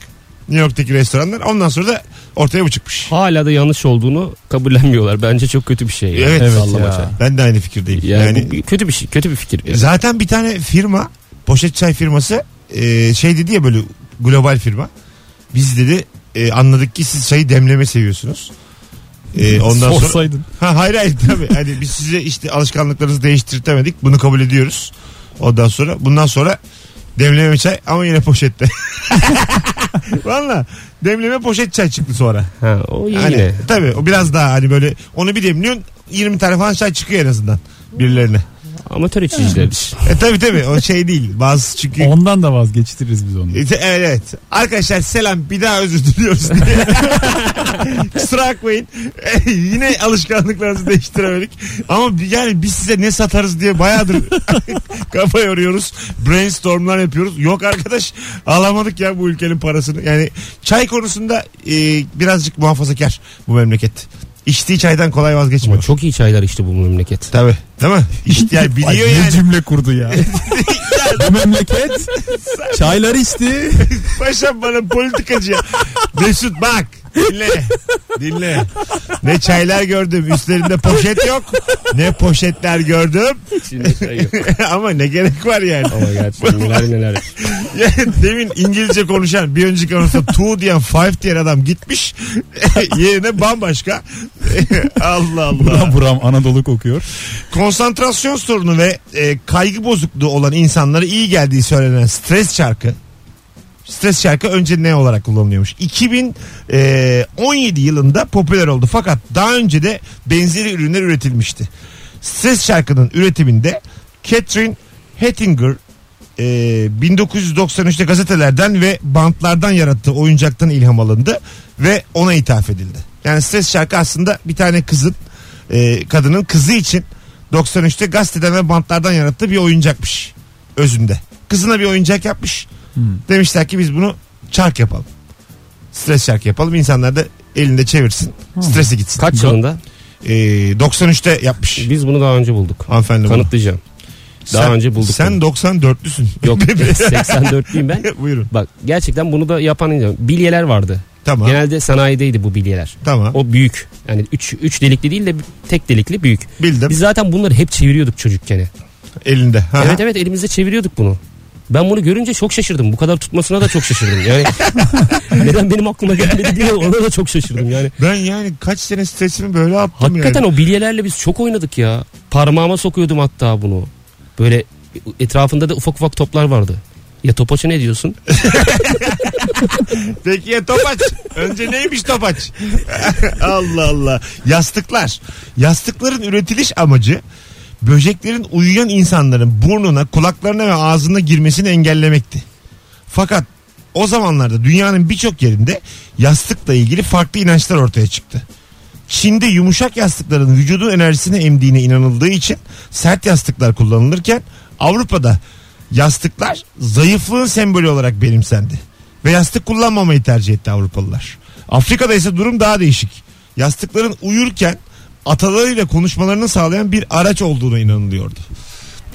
Speaker 2: New York'taki restoranlar. Ondan sonra da ortaya bu çıkmış.
Speaker 3: Hala da yanlış olduğunu kabullenmiyorlar. Bence çok kötü bir şey. ya.
Speaker 2: Evet.
Speaker 3: Sallama
Speaker 4: ya.
Speaker 3: çay.
Speaker 2: Ben de aynı fikirdeyim.
Speaker 3: Yani,
Speaker 2: yani
Speaker 3: bu bir- kötü bir şey, kötü bir fikir. ya.
Speaker 2: E, Zaten bir tane firma poşet çay firması e, şey dedi ya böyle global firma. Biz dedi e, anladık ki siz çayı demleme seviyorsunuz. E, ondan sonra
Speaker 4: Sorsaydın.
Speaker 2: ha, hayır hayır tabii hani biz size işte alışkanlıklarınızı değiştirtemedik bunu kabul ediyoruz. Ondan sonra bundan sonra demleme çay ama yine poşette. Valla demleme poşet çay çıktı sonra.
Speaker 3: Ha, o iyi
Speaker 2: Hani,
Speaker 3: yine.
Speaker 2: tabii o biraz daha hani böyle onu bir demliyorsun 20 tane falan çay çıkıyor en azından birilerine.
Speaker 3: Amatör içiciler.
Speaker 2: E tabi tabi o şey değil. Bazı çünkü
Speaker 4: Ondan da vazgeçtiririz biz onu.
Speaker 2: E, te- Evet, evet. Arkadaşlar selam bir daha özür diliyoruz diye. Kusura bakmayın. E, Yine alışkanlıklarınızı değiştiremedik. Ama bi- yani biz size ne satarız diye bayağıdır kafa yoruyoruz. Brainstormlar yapıyoruz. Yok arkadaş alamadık ya bu ülkenin parasını. Yani çay konusunda e, birazcık muhafazakar bu memleket. İçtiği çaydan kolay vazgeçmiyor.
Speaker 3: Ama çok iyi çaylar içti bu memleket.
Speaker 2: Tabii. Değil mi? İşte yani
Speaker 4: Ay,
Speaker 2: biliyor
Speaker 4: ne
Speaker 2: yani.
Speaker 4: cümle kurdu ya. Bu memleket çayları içti.
Speaker 2: Paşam bana politikacı ya. Mesut bak. Dinle. Dinle. Ne çaylar gördüm. Üstlerinde poşet yok. Ne poşetler gördüm.
Speaker 3: Şimdi çay yok.
Speaker 2: Ama ne gerek var yani.
Speaker 3: Ama gerçekten neler neler.
Speaker 2: Yani demin İngilizce konuşan bir önceki anonsa two diyen five diyen adam gitmiş. Yerine bambaşka. Allah Allah.
Speaker 4: Buram buram Anadolu kokuyor.
Speaker 2: Konsantrasyon sorunu ve e, kaygı bozukluğu olan insanlara iyi geldiği söylenen stres şarkı. Stres şarkı önce ne olarak kullanılıyormuş? 2017 yılında popüler oldu fakat daha önce de benzeri ürünler üretilmişti. Stres şarkının üretiminde Catherine Hettinger e, 1993'te gazetelerden ve bantlardan yarattığı oyuncaktan ilham alındı ve ona ithaf edildi. Yani stres şarkı aslında bir tane kızın e, kadının kızı için 93'te gazeteden ve bantlardan yarattığı bir oyuncakmış özünde. Kızına bir oyuncak yapmış.
Speaker 4: Hmm.
Speaker 2: Demişler ki biz bunu çark yapalım. Stres şarkı yapalım. İnsanlar da elinde çevirsin. Stresi gitsin.
Speaker 3: Hmm. Kaç yılında?
Speaker 2: E, 93'te yapmış.
Speaker 3: Biz bunu daha önce bulduk.
Speaker 2: Hanımefendi bunu.
Speaker 3: Kanıtlayacağım. Daha
Speaker 2: Sen-
Speaker 3: önce bulduk.
Speaker 2: Sen
Speaker 3: bunu.
Speaker 2: 94'lüsün.
Speaker 3: Yok 84'lüyüm ben.
Speaker 2: Buyurun.
Speaker 3: Bak gerçekten bunu da yapan insan. Bilyeler vardı.
Speaker 2: Tamam.
Speaker 3: Genelde sanayideydi bu bilyeler.
Speaker 2: Tamam.
Speaker 3: O büyük. Yani 3 3 delikli değil de tek delikli büyük.
Speaker 2: Bildim.
Speaker 3: Biz zaten bunları hep çeviriyorduk çocukken.
Speaker 2: Elinde. Ha.
Speaker 3: Evet evet elimizde çeviriyorduk bunu. Ben bunu görünce çok şaşırdım. Bu kadar tutmasına da çok şaşırdım. Yani neden benim aklıma gelmedi diye ona da çok şaşırdım. Yani
Speaker 2: Ben yani kaç sene stresimi böyle attım
Speaker 3: hakikaten
Speaker 2: yani.
Speaker 3: o bilyelerle biz çok oynadık ya. Parmağıma sokuyordum hatta bunu. Böyle etrafında da ufak ufak toplar vardı. Ya topaça ne diyorsun?
Speaker 2: Peki ya topaç? Önce neymiş topaç? Allah Allah. Yastıklar. Yastıkların üretiliş amacı böceklerin uyuyan insanların burnuna, kulaklarına ve ağzına girmesini engellemekti. Fakat o zamanlarda dünyanın birçok yerinde yastıkla ilgili farklı inançlar ortaya çıktı. Çin'de yumuşak yastıkların vücudun enerjisini emdiğine inanıldığı için sert yastıklar kullanılırken Avrupa'da yastıklar zayıflığın sembolü olarak benimsendi. Ve yastık kullanmamayı tercih etti Avrupalılar. Afrika'da ise durum daha değişik. Yastıkların uyurken atalarıyla konuşmalarını sağlayan bir araç olduğuna inanılıyordu.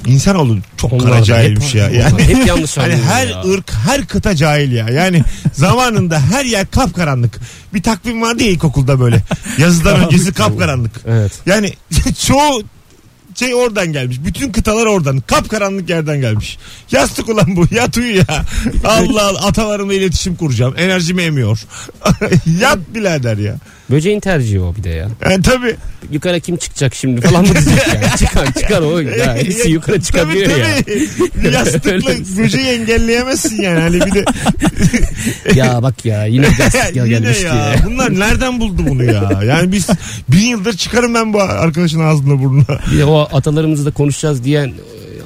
Speaker 2: İnsanoğlu çok
Speaker 3: Onlar
Speaker 2: kara
Speaker 3: da
Speaker 2: cahilmiş
Speaker 3: hep-
Speaker 2: ya.
Speaker 3: onlar
Speaker 2: Yani
Speaker 3: hep yanlış
Speaker 2: hani
Speaker 3: anlıyor
Speaker 2: her
Speaker 3: ya.
Speaker 2: ırk, her kıta cahil ya. Yani zamanında her yer kapkaranlık. Bir takvim vardı ya ilkokulda böyle. Yazıdan öncesi kapkaranlık.
Speaker 3: Evet.
Speaker 2: Yani çoğu şey oradan gelmiş. Bütün kıtalar oradan. Kapkaranlık yerden gelmiş. Yastık ulan bu. Yat uyu ya. Allah Allah. Atalarımla iletişim kuracağım. Enerjimi emiyor. Yat birader ya.
Speaker 3: Böceğin tercihi o bir de ya.
Speaker 2: Yani tabii.
Speaker 3: Yukarı kim çıkacak şimdi falan mı diyecek ya. Çıkan çıkar o. Ya, hepsi yukarı çıkabiliyor
Speaker 2: tabii,
Speaker 3: ya.
Speaker 2: tabii. Yastıkla böceği engelleyemezsin yani. Hani bir de
Speaker 3: Ya bak ya yine yastık ya
Speaker 2: Yine
Speaker 3: gelmiş
Speaker 2: ya.
Speaker 3: diye.
Speaker 2: Bunlar nereden buldu bunu ya? Yani biz bin yıldır çıkarım ben bu arkadaşın ağzına burnuna.
Speaker 3: Bir de o atalarımızı da konuşacağız diyen e,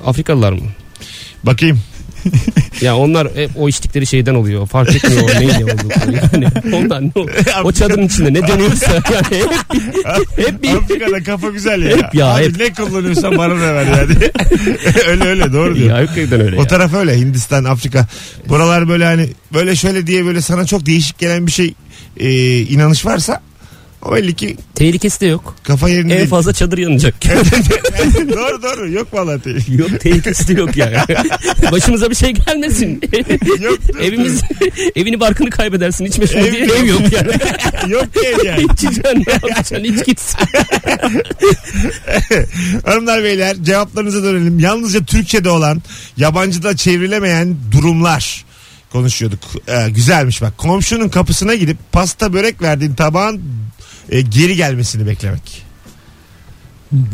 Speaker 3: Afrikalılar mı?
Speaker 2: Bakayım.
Speaker 3: Ya onlar hep o içtikleri şeyden oluyor. Fark etmiyor o neyin ne oldukları. Yani ondan ne o, o çadırın içinde ne dönüyorsa yani hep bir, hep bir
Speaker 2: Afrika'da kafa güzel ya.
Speaker 3: Hep ya,
Speaker 2: Abi
Speaker 3: hep.
Speaker 2: ne kullanıyorsan bana da ver yani. öyle öyle doğru diyor.
Speaker 3: ya hakikaten öyle
Speaker 2: O
Speaker 3: ya.
Speaker 2: taraf öyle Hindistan, Afrika. Buralar böyle hani böyle şöyle diye böyle sana çok değişik gelen bir şey e, inanış varsa o belli ki
Speaker 3: Tehlikesi de yok.
Speaker 2: kafa yerinde
Speaker 3: En
Speaker 2: değil.
Speaker 3: fazla çadır yanacak.
Speaker 2: doğru doğru yok vallahi değil.
Speaker 3: yok tehlikesi de yok yani. Başımıza bir şey gelmesin.
Speaker 2: Yok,
Speaker 3: Evimiz evini barkını kaybedersin hiç meşhur
Speaker 2: Ev
Speaker 3: diye
Speaker 2: yok.
Speaker 3: ev yok yani.
Speaker 2: yok değil yani.
Speaker 3: İçeceksin ne yapacaksın hiç gitsin.
Speaker 2: Hanımlar beyler cevaplarınıza dönelim. Yalnızca Türkçe'de olan yabancıda çevrilemeyen durumlar konuşuyorduk. Ee, güzelmiş bak. Komşunun kapısına gidip pasta börek verdiğin tabağın e, geri gelmesini beklemek.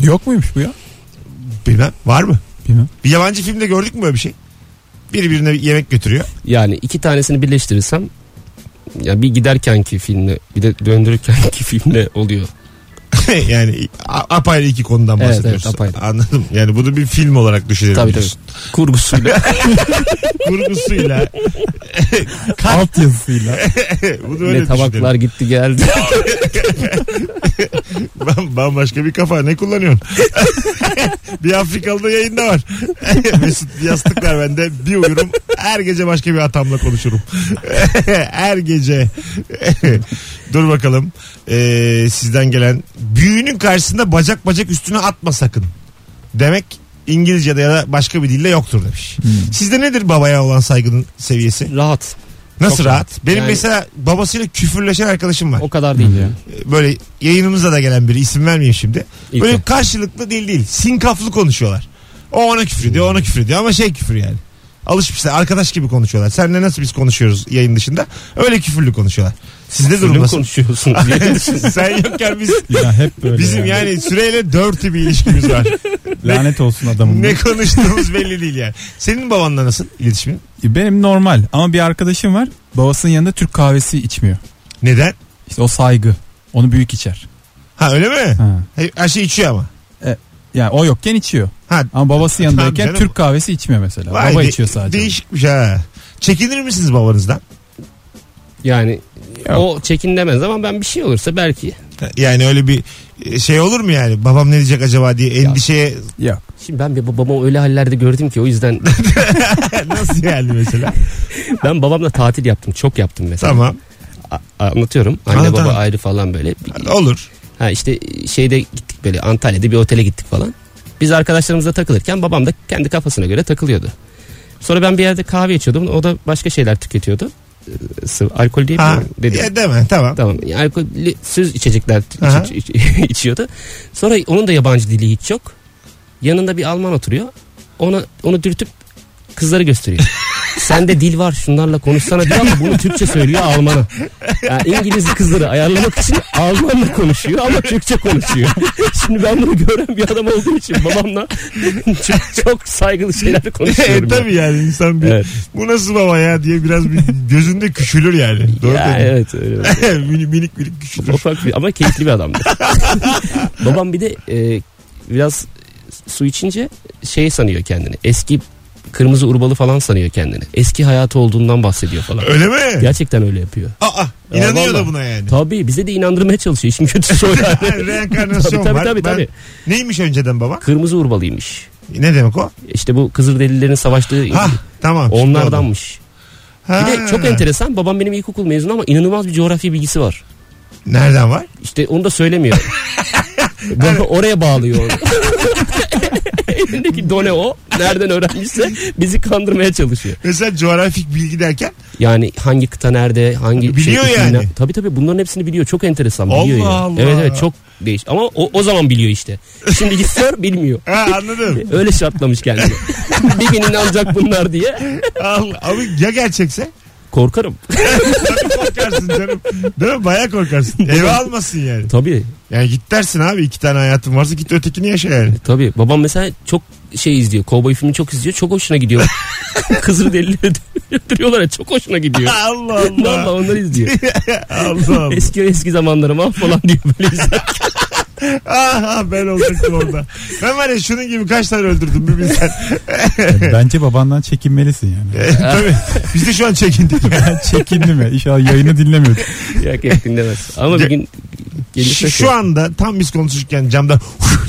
Speaker 4: Yok muymuş bu ya?
Speaker 2: Bilmem var mı?
Speaker 4: Bilmem.
Speaker 2: Bir yabancı filmde gördük mü böyle bir şey? Biri birine yemek götürüyor.
Speaker 3: Yani iki tanesini birleştirirsem ya bir giderkenki filmle bir de döndürürkenki filmle oluyor.
Speaker 2: yani a- apayrı iki konudan
Speaker 3: Evet,
Speaker 2: bahsediyoruz.
Speaker 3: evet, apayrı.
Speaker 2: Anladım. Yani bunu bir film olarak düşünelim.
Speaker 3: Tabii tabii.
Speaker 2: diyorsun.
Speaker 3: Kurgusuyla.
Speaker 2: Kurgusuyla,
Speaker 4: Alt yazısıyla.
Speaker 2: Bunu öyle
Speaker 3: Ne tabaklar gitti geldi.
Speaker 2: Bam, bambaşka bir kafa. Ne kullanıyorsun? bir Afrikalı da yayında var. Mesut yastık ver bende. Bir uyurum. Her gece başka bir atamla konuşurum. Her gece. Dur bakalım. Ee, sizden gelen. Büyünün karşısında bacak bacak üstüne atma sakın. Demek İngilizce'de ya da başka bir dilde yoktur demiş.
Speaker 4: Hmm.
Speaker 2: Sizde nedir babaya olan saygının seviyesi?
Speaker 3: Rahat.
Speaker 2: Nasıl
Speaker 3: Çok
Speaker 2: rahat?
Speaker 3: rahat.
Speaker 2: Benim
Speaker 3: Yani-
Speaker 2: mesela babasıyla küfürleşen arkadaşım var.
Speaker 3: O kadar değil ya.
Speaker 2: Böyle yayınımıza da gelen biri isim vermeyeyim şimdi.
Speaker 3: İlke.
Speaker 2: Böyle karşılıklı değil değil. Sinkaflı konuşuyorlar. O ona küfür ediyor, ona küfür ediyor ama şey küfür yani. Alışmışlar arkadaş gibi konuşuyorlar. Senle nasıl biz konuşuyoruz yayın dışında? Öyle küfürlü konuşuyorlar. Sizde durum
Speaker 3: Ölüm
Speaker 2: nasıl?
Speaker 3: konuşuyorsun diye.
Speaker 2: Sen yokken biz
Speaker 4: ya hep böyle.
Speaker 2: bizim yani süreyle dörtlü bir ilişkimiz var.
Speaker 4: Lanet olsun adamın.
Speaker 2: ne konuştuğumuz belli değil yani. Senin babanla nasıl iletişimin?
Speaker 4: Benim normal ama bir arkadaşım var. Babasının yanında Türk kahvesi içmiyor.
Speaker 2: Neden?
Speaker 4: İşte o saygı. Onu büyük içer.
Speaker 2: Ha öyle mi?
Speaker 4: Ha.
Speaker 2: Her şey içiyor ama.
Speaker 4: Yani o yokken içiyor.
Speaker 2: Ha
Speaker 4: Ama babası
Speaker 2: Tamam
Speaker 4: yanındayken
Speaker 2: canım.
Speaker 4: Türk kahvesi içmiyor mesela.
Speaker 2: Vay
Speaker 4: Baba
Speaker 2: de-
Speaker 4: içiyor sadece.
Speaker 2: Değişikmiş ha. Çekinir misiniz babanızdan?
Speaker 3: Yani
Speaker 4: Yok.
Speaker 3: o çekinlemez ama ben bir şey olursa belki.
Speaker 2: Yani öyle bir e, şey olur mu yani? Babam ne diyecek acaba diye endişeye
Speaker 4: Yok.
Speaker 3: Şimdi ben bir babamı öyle hallerde gördüm ki o yüzden
Speaker 2: nasıl yani mesela?
Speaker 3: ben babamla tatil yaptım. Çok yaptım mesela.
Speaker 2: tamam.
Speaker 3: A- anlatıyorum. Anne
Speaker 2: Anlat,
Speaker 3: baba
Speaker 2: anlat.
Speaker 3: ayrı falan böyle. Bir-
Speaker 2: Olur.
Speaker 3: Ha işte şeyde gittik böyle Antalya'da bir otele gittik falan. Biz arkadaşlarımızla takılırken babam da kendi kafasına göre takılıyordu. Sonra ben bir yerde kahve içiyordum. O da başka şeyler tüketiyordu. Ee, Sıvı, alkol diye
Speaker 2: Ha.
Speaker 3: dedi.
Speaker 2: Ya deme tamam.
Speaker 3: Tamam. Yani Alkollü süz içecekler iç-
Speaker 2: Aha.
Speaker 3: iç- iç- içiyordu. Sonra onun da yabancı dili hiç yok. Yanında bir Alman oturuyor. Ona onu dürtüp kızları gösteriyor. Sende dil var şunlarla konuşsana diyor ama bunu Türkçe söylüyor Alman'a. Yani İngiliz kızları ayarlamak için Almanla konuşuyor ama Türkçe konuşuyor. Şimdi ben bunu gören bir adam olduğum için babamla çok, çok saygılı şeyler konuşuyorum.
Speaker 2: e,
Speaker 3: ya.
Speaker 2: tabii yani insan bir
Speaker 3: Evet.
Speaker 2: bu nasıl baba ya diye biraz bir gözünde küçülür yani. Doğru
Speaker 3: Ya,
Speaker 2: dedin.
Speaker 3: evet öyle.
Speaker 2: Mini- minik minik küçülür.
Speaker 3: Ufak bir ama keyifli bir adamdı. Babam bir de e, biraz su içince şey sanıyor kendini. Eski kırmızı urbalı falan sanıyor kendini. Eski hayatı olduğundan bahsediyor falan.
Speaker 2: Öyle mi?
Speaker 3: Gerçekten öyle yapıyor.
Speaker 2: Aa, inanıyor
Speaker 3: Ya,
Speaker 2: da
Speaker 3: vallahi.
Speaker 2: buna yani.
Speaker 3: Tabii bize de inandırmaya çalışıyor. İşin kötüsü o yani.
Speaker 2: Yani Reenkarnasyon
Speaker 3: Tabii, tabii,
Speaker 2: var.
Speaker 3: tabii,
Speaker 2: Ben-
Speaker 3: tabii.
Speaker 2: Neymiş önceden baba?
Speaker 3: Kırmızı urbalıymış.
Speaker 2: Ne demek o?
Speaker 3: İşte bu Kızılderililerin savaştığı
Speaker 2: Ha tamam. şimdi oldu.
Speaker 3: onlardanmış. Bir de
Speaker 2: Ha.
Speaker 3: çok enteresan. Babam benim ilkokul mezunu ama inanılmaz bir coğrafya bilgisi var.
Speaker 2: Nereden var?
Speaker 3: İşte onu da söylemiyor. Bunu oraya bağlıyor. Elindeki done o. Nereden öğrenmişse bizi kandırmaya çalışıyor.
Speaker 2: Mesela coğrafik bilgi derken
Speaker 3: Yani hangi kıta nerede, hangi
Speaker 2: Biliyor
Speaker 3: şey,
Speaker 2: yani.
Speaker 3: bilmem- Tabii tabii bunların hepsini biliyor. Çok enteresan biliyor.
Speaker 2: Allah
Speaker 3: yani.
Speaker 2: Allah.
Speaker 3: Evet evet çok değiş. Ama o, o zaman biliyor işte. Şimdi gitse bilmiyor.
Speaker 2: ha, anladım.
Speaker 3: Öyle şartlamış kendini. bir gün inanacak bunlar diye.
Speaker 2: Allah, abi ya gerçekse?
Speaker 3: Korkarım.
Speaker 2: Tabii korkarsın canım. Değil mi? Baya korkarsın. Eve almasın yani.
Speaker 3: Tabii
Speaker 2: Yani git dersin abi iki tane hayatın varsa git ötekini yaşa yani.
Speaker 3: tabii. Babam mesela çok şey izliyor. Kovboy filmi çok izliyor. Çok hoşuna gidiyor. Kızılderilileri öldürüyorlar ya. Çok hoşuna gidiyor.
Speaker 2: Allah
Speaker 3: Valla
Speaker 2: Allah.
Speaker 3: onları izliyor.
Speaker 2: Allah Allah.
Speaker 3: Eski eski zamanlarım ah falan diyor böyle izler.
Speaker 2: Aha Ah, ben olacaktım orada. Ben var ya şunun gibi kaç tane öldürdüm bir bilsen.
Speaker 4: Yani bence babandan çekinmelisin yani.
Speaker 2: E, Tabii. Biz de şu an çekindik.
Speaker 4: Ben çekindim ya. İnşallah yayını dinlemiyor.
Speaker 3: Yok yok dinlemez. Ama bir gün gelirse şey,
Speaker 2: Şu, şu anda tam biz konuşurken camdan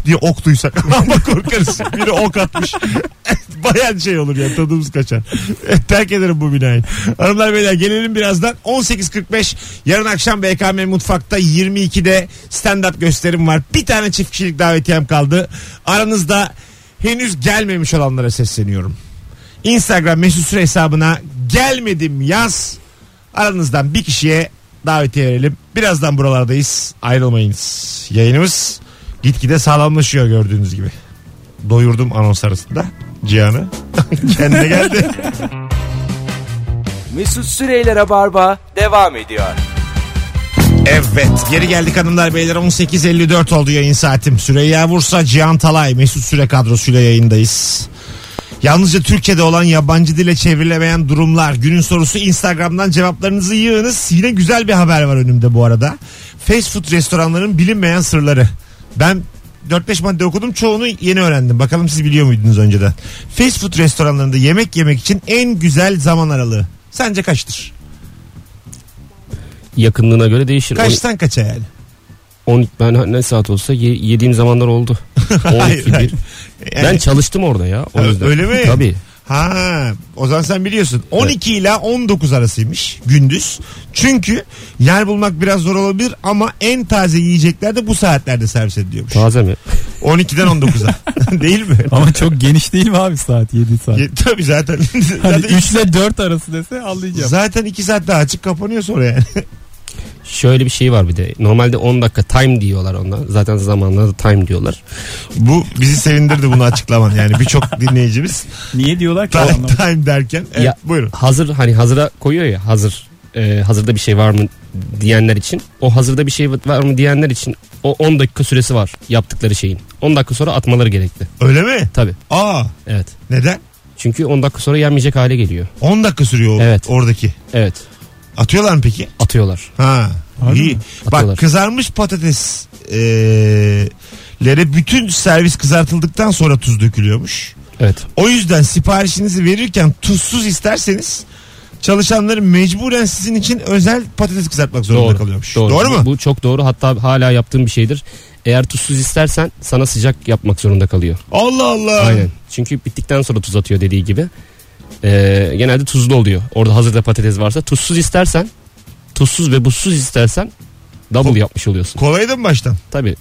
Speaker 2: diye ok duysak ama korkarız. Biri ok atmış. Bayan şey olur ya tadımız kaçar. Terk ederim bu binayı. Hanımlar beyler gelelim birazdan. 18.45 yarın akşam BKM Mutfak'ta 22'de stand-up gösterim var. Bir tane çift kişilik davetiyem kaldı. Aranızda henüz gelmemiş olanlara sesleniyorum. Instagram mesut süre hesabına gelmedim yaz. Aranızdan bir kişiye davetiye verelim. Birazdan buralardayız. Ayrılmayınız. Yayınımız gitgide sağlamlaşıyor gördüğünüz gibi. Doyurdum anons arasında. Cihan'ı. Kendine geldi.
Speaker 1: Mesut Süreyler'e barba devam ediyor.
Speaker 2: Evet geri geldik hanımlar beyler 18.54 oldu yayın saatim. Süreyya Bursa, Cihan Talay, Mesut Süre kadrosuyla yayındayız. Yalnızca Türkiye'de olan yabancı dile çevrilemeyen durumlar. Günün sorusu Instagram'dan cevaplarınızı yığınız. Yine güzel bir haber var önümde bu arada. Fast food restoranların bilinmeyen sırları. Ben 4-5 madde okudum çoğunu yeni öğrendim. Bakalım siz biliyor muydunuz önceden? Fast food restoranlarında yemek yemek için en güzel zaman aralığı. Sence kaçtır?
Speaker 3: yakınlığına göre değişir.
Speaker 2: Kaçtan kaça yani?
Speaker 3: On- on- ben ne saat olsa ye- yediğim zamanlar oldu. 12
Speaker 2: hayır.
Speaker 3: bir.
Speaker 2: Yani-
Speaker 3: Ben çalıştım orada ya. O
Speaker 2: Ha,
Speaker 3: yüzden.
Speaker 2: öyle mi?
Speaker 3: Tabii.
Speaker 2: Ha, o zaman sen biliyorsun. 12 ile 19 arasıymış gündüz. Çünkü yer bulmak biraz zor olabilir ama en taze yiyecekler de bu saatlerde servis ediliyormuş.
Speaker 3: Taze mi?
Speaker 2: 12'den 19'a. Değil mi?
Speaker 4: Ama çok geniş değil mi abi saat 7 saat?
Speaker 2: Ya, Tabii zaten.
Speaker 4: Hani
Speaker 2: zaten,
Speaker 4: 3 ile 4 arası dese anlayacağım.
Speaker 2: zaten 2 saat daha açık kapanıyor sonra yani.
Speaker 3: Şöyle bir şey var bir de. Normalde 10 dakika time diyorlar ona. Zaten zamanlarda da time diyorlar.
Speaker 2: Bu bizi sevindirdi bunu açıklaman. Yani birçok dinleyicimiz
Speaker 4: Niye diyorlar ki?
Speaker 2: time,
Speaker 4: Anlamadım.
Speaker 2: time derken. Evet,
Speaker 3: Ya-
Speaker 2: buyurun.
Speaker 3: Hazır hani hazıra koyuyor ya hazır. Ee, hazırda bir şey var mı diyenler için. O hazırda bir şey var mı diyenler için o 10 dakika süresi var yaptıkları şeyin. 10 dakika sonra atmaları gerekli.
Speaker 2: Öyle mi?
Speaker 3: Tabii.
Speaker 2: Aa
Speaker 3: Evet.
Speaker 2: neden?
Speaker 3: Çünkü 10 dakika sonra yenmeyecek hale geliyor.
Speaker 2: 10 dakika sürüyor o-
Speaker 3: Evet.
Speaker 2: oradaki.
Speaker 3: Evet.
Speaker 2: Atıyorlar mı peki?
Speaker 3: Atıyorlar.
Speaker 2: Ha.
Speaker 4: Harbi
Speaker 2: iyi.
Speaker 4: mi?
Speaker 2: Bak
Speaker 3: Atıyorlar.
Speaker 2: kızarmış patates e, lere bütün servis kızartıldıktan sonra tuz dökülüyormuş.
Speaker 3: Evet.
Speaker 2: O yüzden siparişinizi verirken tuzsuz isterseniz çalışanları mecburen sizin için özel patates kızartmak zorunda
Speaker 3: Doğru.
Speaker 2: kalıyormuş. Doğru,
Speaker 3: Doğru.
Speaker 2: mu?
Speaker 3: Bu, bu çok doğru. Hatta hala yaptığım bir şeydir. Eğer tuzsuz istersen sana sıcak yapmak zorunda kalıyor.
Speaker 2: Allah Allah.
Speaker 3: Aynen. Çünkü bittikten sonra tuz atıyor dediği gibi. Ee, genelde tuzlu oluyor. Orada hazırda patates varsa tuzsuz istersen, tuzsuz ve buzsuz istersen double yapmış oluyorsun.
Speaker 2: Kolay da mı baştan?
Speaker 3: Tabii.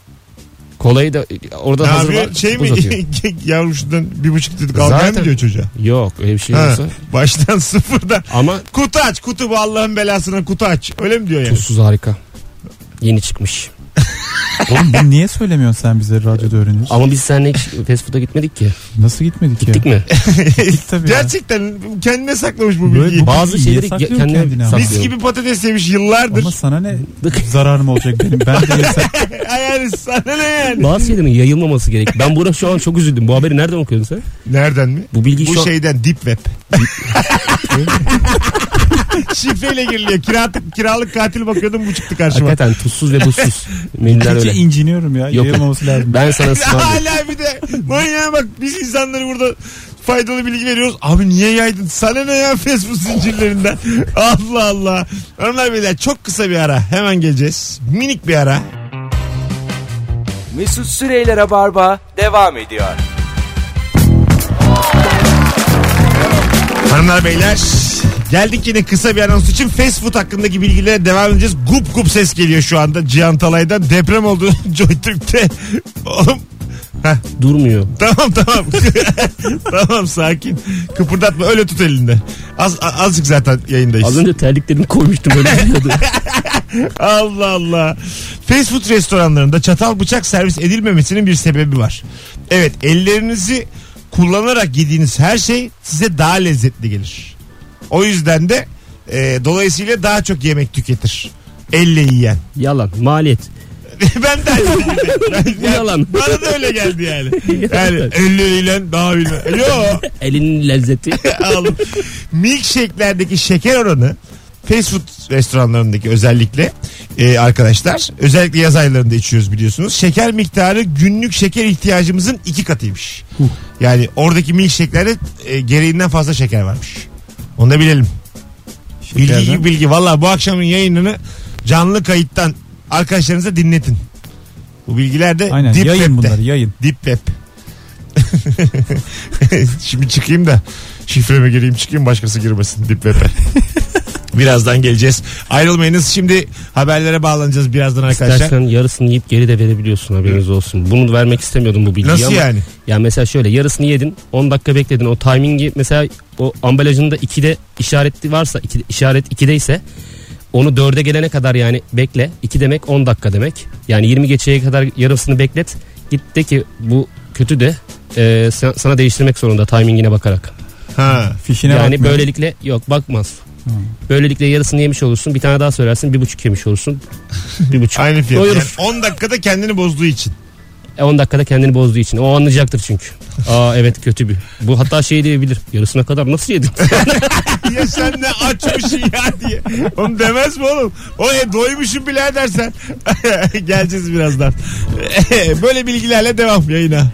Speaker 3: Kolayı da orada
Speaker 2: Ne
Speaker 3: hazır
Speaker 2: yapıyor?
Speaker 3: var.
Speaker 2: Şey mi?
Speaker 3: buz atıyor.
Speaker 2: Yavrum şundan bir buçuk dedik almaya mı
Speaker 3: Zaten-
Speaker 2: diyor çocuğa?
Speaker 3: Yok öyle bir şey
Speaker 2: Ha,
Speaker 3: yoksa.
Speaker 2: baştan sıfırda.
Speaker 3: Ama
Speaker 2: Kutu aç kutu bu Allah'ın belasına kutu aç. Öyle mi diyor yani?
Speaker 3: tuzsuz harika. Yeni çıkmış.
Speaker 4: Oğlum bunu niye söylemiyorsun sen bize radyoda öğreniyorsun?
Speaker 3: Ama biz seninle hiç fast food'a gitmedik ki.
Speaker 4: Nasıl gitmedik
Speaker 3: Gittik
Speaker 4: ya?
Speaker 3: mi?
Speaker 4: tabii ya.
Speaker 2: Gerçekten kendine saklamış bu
Speaker 4: Böyle
Speaker 2: bilgiyi.
Speaker 4: bu-
Speaker 3: Bazı
Speaker 4: Niye
Speaker 3: şeyleri
Speaker 4: saklıyorsun
Speaker 3: kendine
Speaker 4: kendini ama?
Speaker 2: Mis
Speaker 3: saklıyorum.
Speaker 2: gibi patates yemiş yıllardır.
Speaker 4: Ama sana ne zararım olacak benim? Ben de yesem
Speaker 2: yani sana ne yani?
Speaker 3: Bazı şeylerin yayılmaması gerek. Ben burada şu an çok üzüldüm. Bu haberi nereden okuyorsun sen?
Speaker 2: Nereden mi?
Speaker 3: Bu şey- bilgi
Speaker 2: Bu
Speaker 3: şu an...
Speaker 2: şeyden deep web. Şifreyle giriliyor. Kiralık, kiralık katil bakıyordum bu çıktı karşıma.
Speaker 3: Hakikaten tuzsuz ve buzsuz. Menüler
Speaker 4: iyice
Speaker 3: öyle.
Speaker 4: inciniyorum ya.
Speaker 3: Yok.
Speaker 4: Yayılmaması lazım.
Speaker 3: Ben sana ısmarladım.
Speaker 2: Hala bir de manyağa bak biz insanlara burada faydalı bilgi veriyoruz. Abi niye yaydın? Sana ne ya Facebook zincirlerinden? Allah Allah. Hanımlar beyler çok kısa bir ara. Hemen geleceğiz. Minik bir ara.
Speaker 1: Mesut Süreyler'e barba devam ediyor.
Speaker 2: Hanımlar beyler geldik yine kısa bir anons için fast food hakkındaki bilgilere devam edeceğiz. Gup gup ses geliyor şu anda Cihan Talay'dan deprem oldu JoyTürk'te. Oğlum
Speaker 3: Durmuyor.
Speaker 2: tamam tamam tamam sakin kıpırdatma öyle tut elinde. Az, a- azıcık zaten yayındayız.
Speaker 3: Az önce terliklerimi koymuştum öyle duruyordu.
Speaker 2: Allah Allah. Fast food restoranlarında çatal bıçak servis edilmemesinin bir sebebi var. Evet ellerinizi kullanarak yediğiniz her şey size daha lezzetli gelir. O yüzden de e, dolayısıyla daha çok yemek tüketir. Elle yiyen.
Speaker 3: Yalan. Maliyet.
Speaker 2: ben de aynı şekilde. Ben- yani
Speaker 3: Yalan.
Speaker 2: Bana da öyle geldi yani. Yani elle yiyen daha bilmem. Yok.
Speaker 3: Elinin lezzeti.
Speaker 2: Al. Milkshake'lerdeki şeker oranı fast food restoranlarındaki özellikle e, arkadaşlar özellikle yaz aylarında içiyoruz biliyorsunuz. Şeker miktarı günlük şeker ihtiyacımızın iki katıymış. Yani oradaki milkshake'lerde e, gereğinden fazla şeker varmış. Onu da bilelim. Bilgi gibi bilgi. Valla bu akşamın yayınını canlı kayıttan arkadaşlarınıza dinletin. Bu bilgiler de
Speaker 4: Aynen
Speaker 2: Deep
Speaker 4: yayın
Speaker 2: Web'te.
Speaker 4: bunları yayın.
Speaker 2: Deep Web. Şimdi çıkayım da şifreme gireyim çıkayım başkası girmesin Deep Web'e. Birazdan geleceğiz. Ayrılmayınız. Şimdi haberlere bağlanacağız birazdan arkadaşlar.
Speaker 3: İstersen yarısını yiyip geri de verebiliyorsun haberiniz olsun. Bunu vermek istemiyordum bu bilgiyi
Speaker 2: Nasıl
Speaker 3: ama.
Speaker 2: yani?
Speaker 3: Ya mesela şöyle yarısını yedin 10 dakika bekledin o timingi mesela o ambalajında 2'de işaretli varsa iki, işaret 2'de ise onu 4'e gelene kadar yani bekle 2 demek 10 dakika demek yani 20 geçeye kadar yarısını beklet git de ki bu kötü de e, sen- sana değiştirmek zorunda timingine bakarak.
Speaker 2: Ha.
Speaker 4: Fişine
Speaker 3: yani
Speaker 4: bakmıyorum.
Speaker 3: böylelikle yok bakmaz. Böylelikle yarısını yemiş olursun bir tane daha söylersin bir buçuk yemiş olursun bir buçuk.
Speaker 2: Aynı fiyat. Yani
Speaker 3: Doyurur.
Speaker 2: 10 dakikada kendini bozduğu için.
Speaker 3: E, 10 dakikada kendini bozduğu için. O anlayacaktır çünkü. Aa evet kötü bir. Bu hatta şey diyebilir. Yarısına kadar nasıl yedin?
Speaker 2: ya sen ne açmışsın ya diye. Oğlum demez mi oğlum? O e, doymuşum bile dersen. Geleceğiz birazdan. Böyle bilgilerle devam yayına.